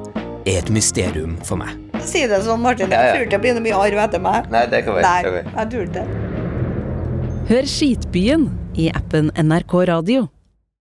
[SPEAKER 8] et mysterium for meg.
[SPEAKER 11] Si det sånn, Martin.
[SPEAKER 9] Ja, ja.
[SPEAKER 11] Jeg tror det blir noe mye arv etter meg.
[SPEAKER 9] Nei, det kan
[SPEAKER 11] Nei, jeg tror det.
[SPEAKER 7] Hør Skitbyen i appen NRK Radio.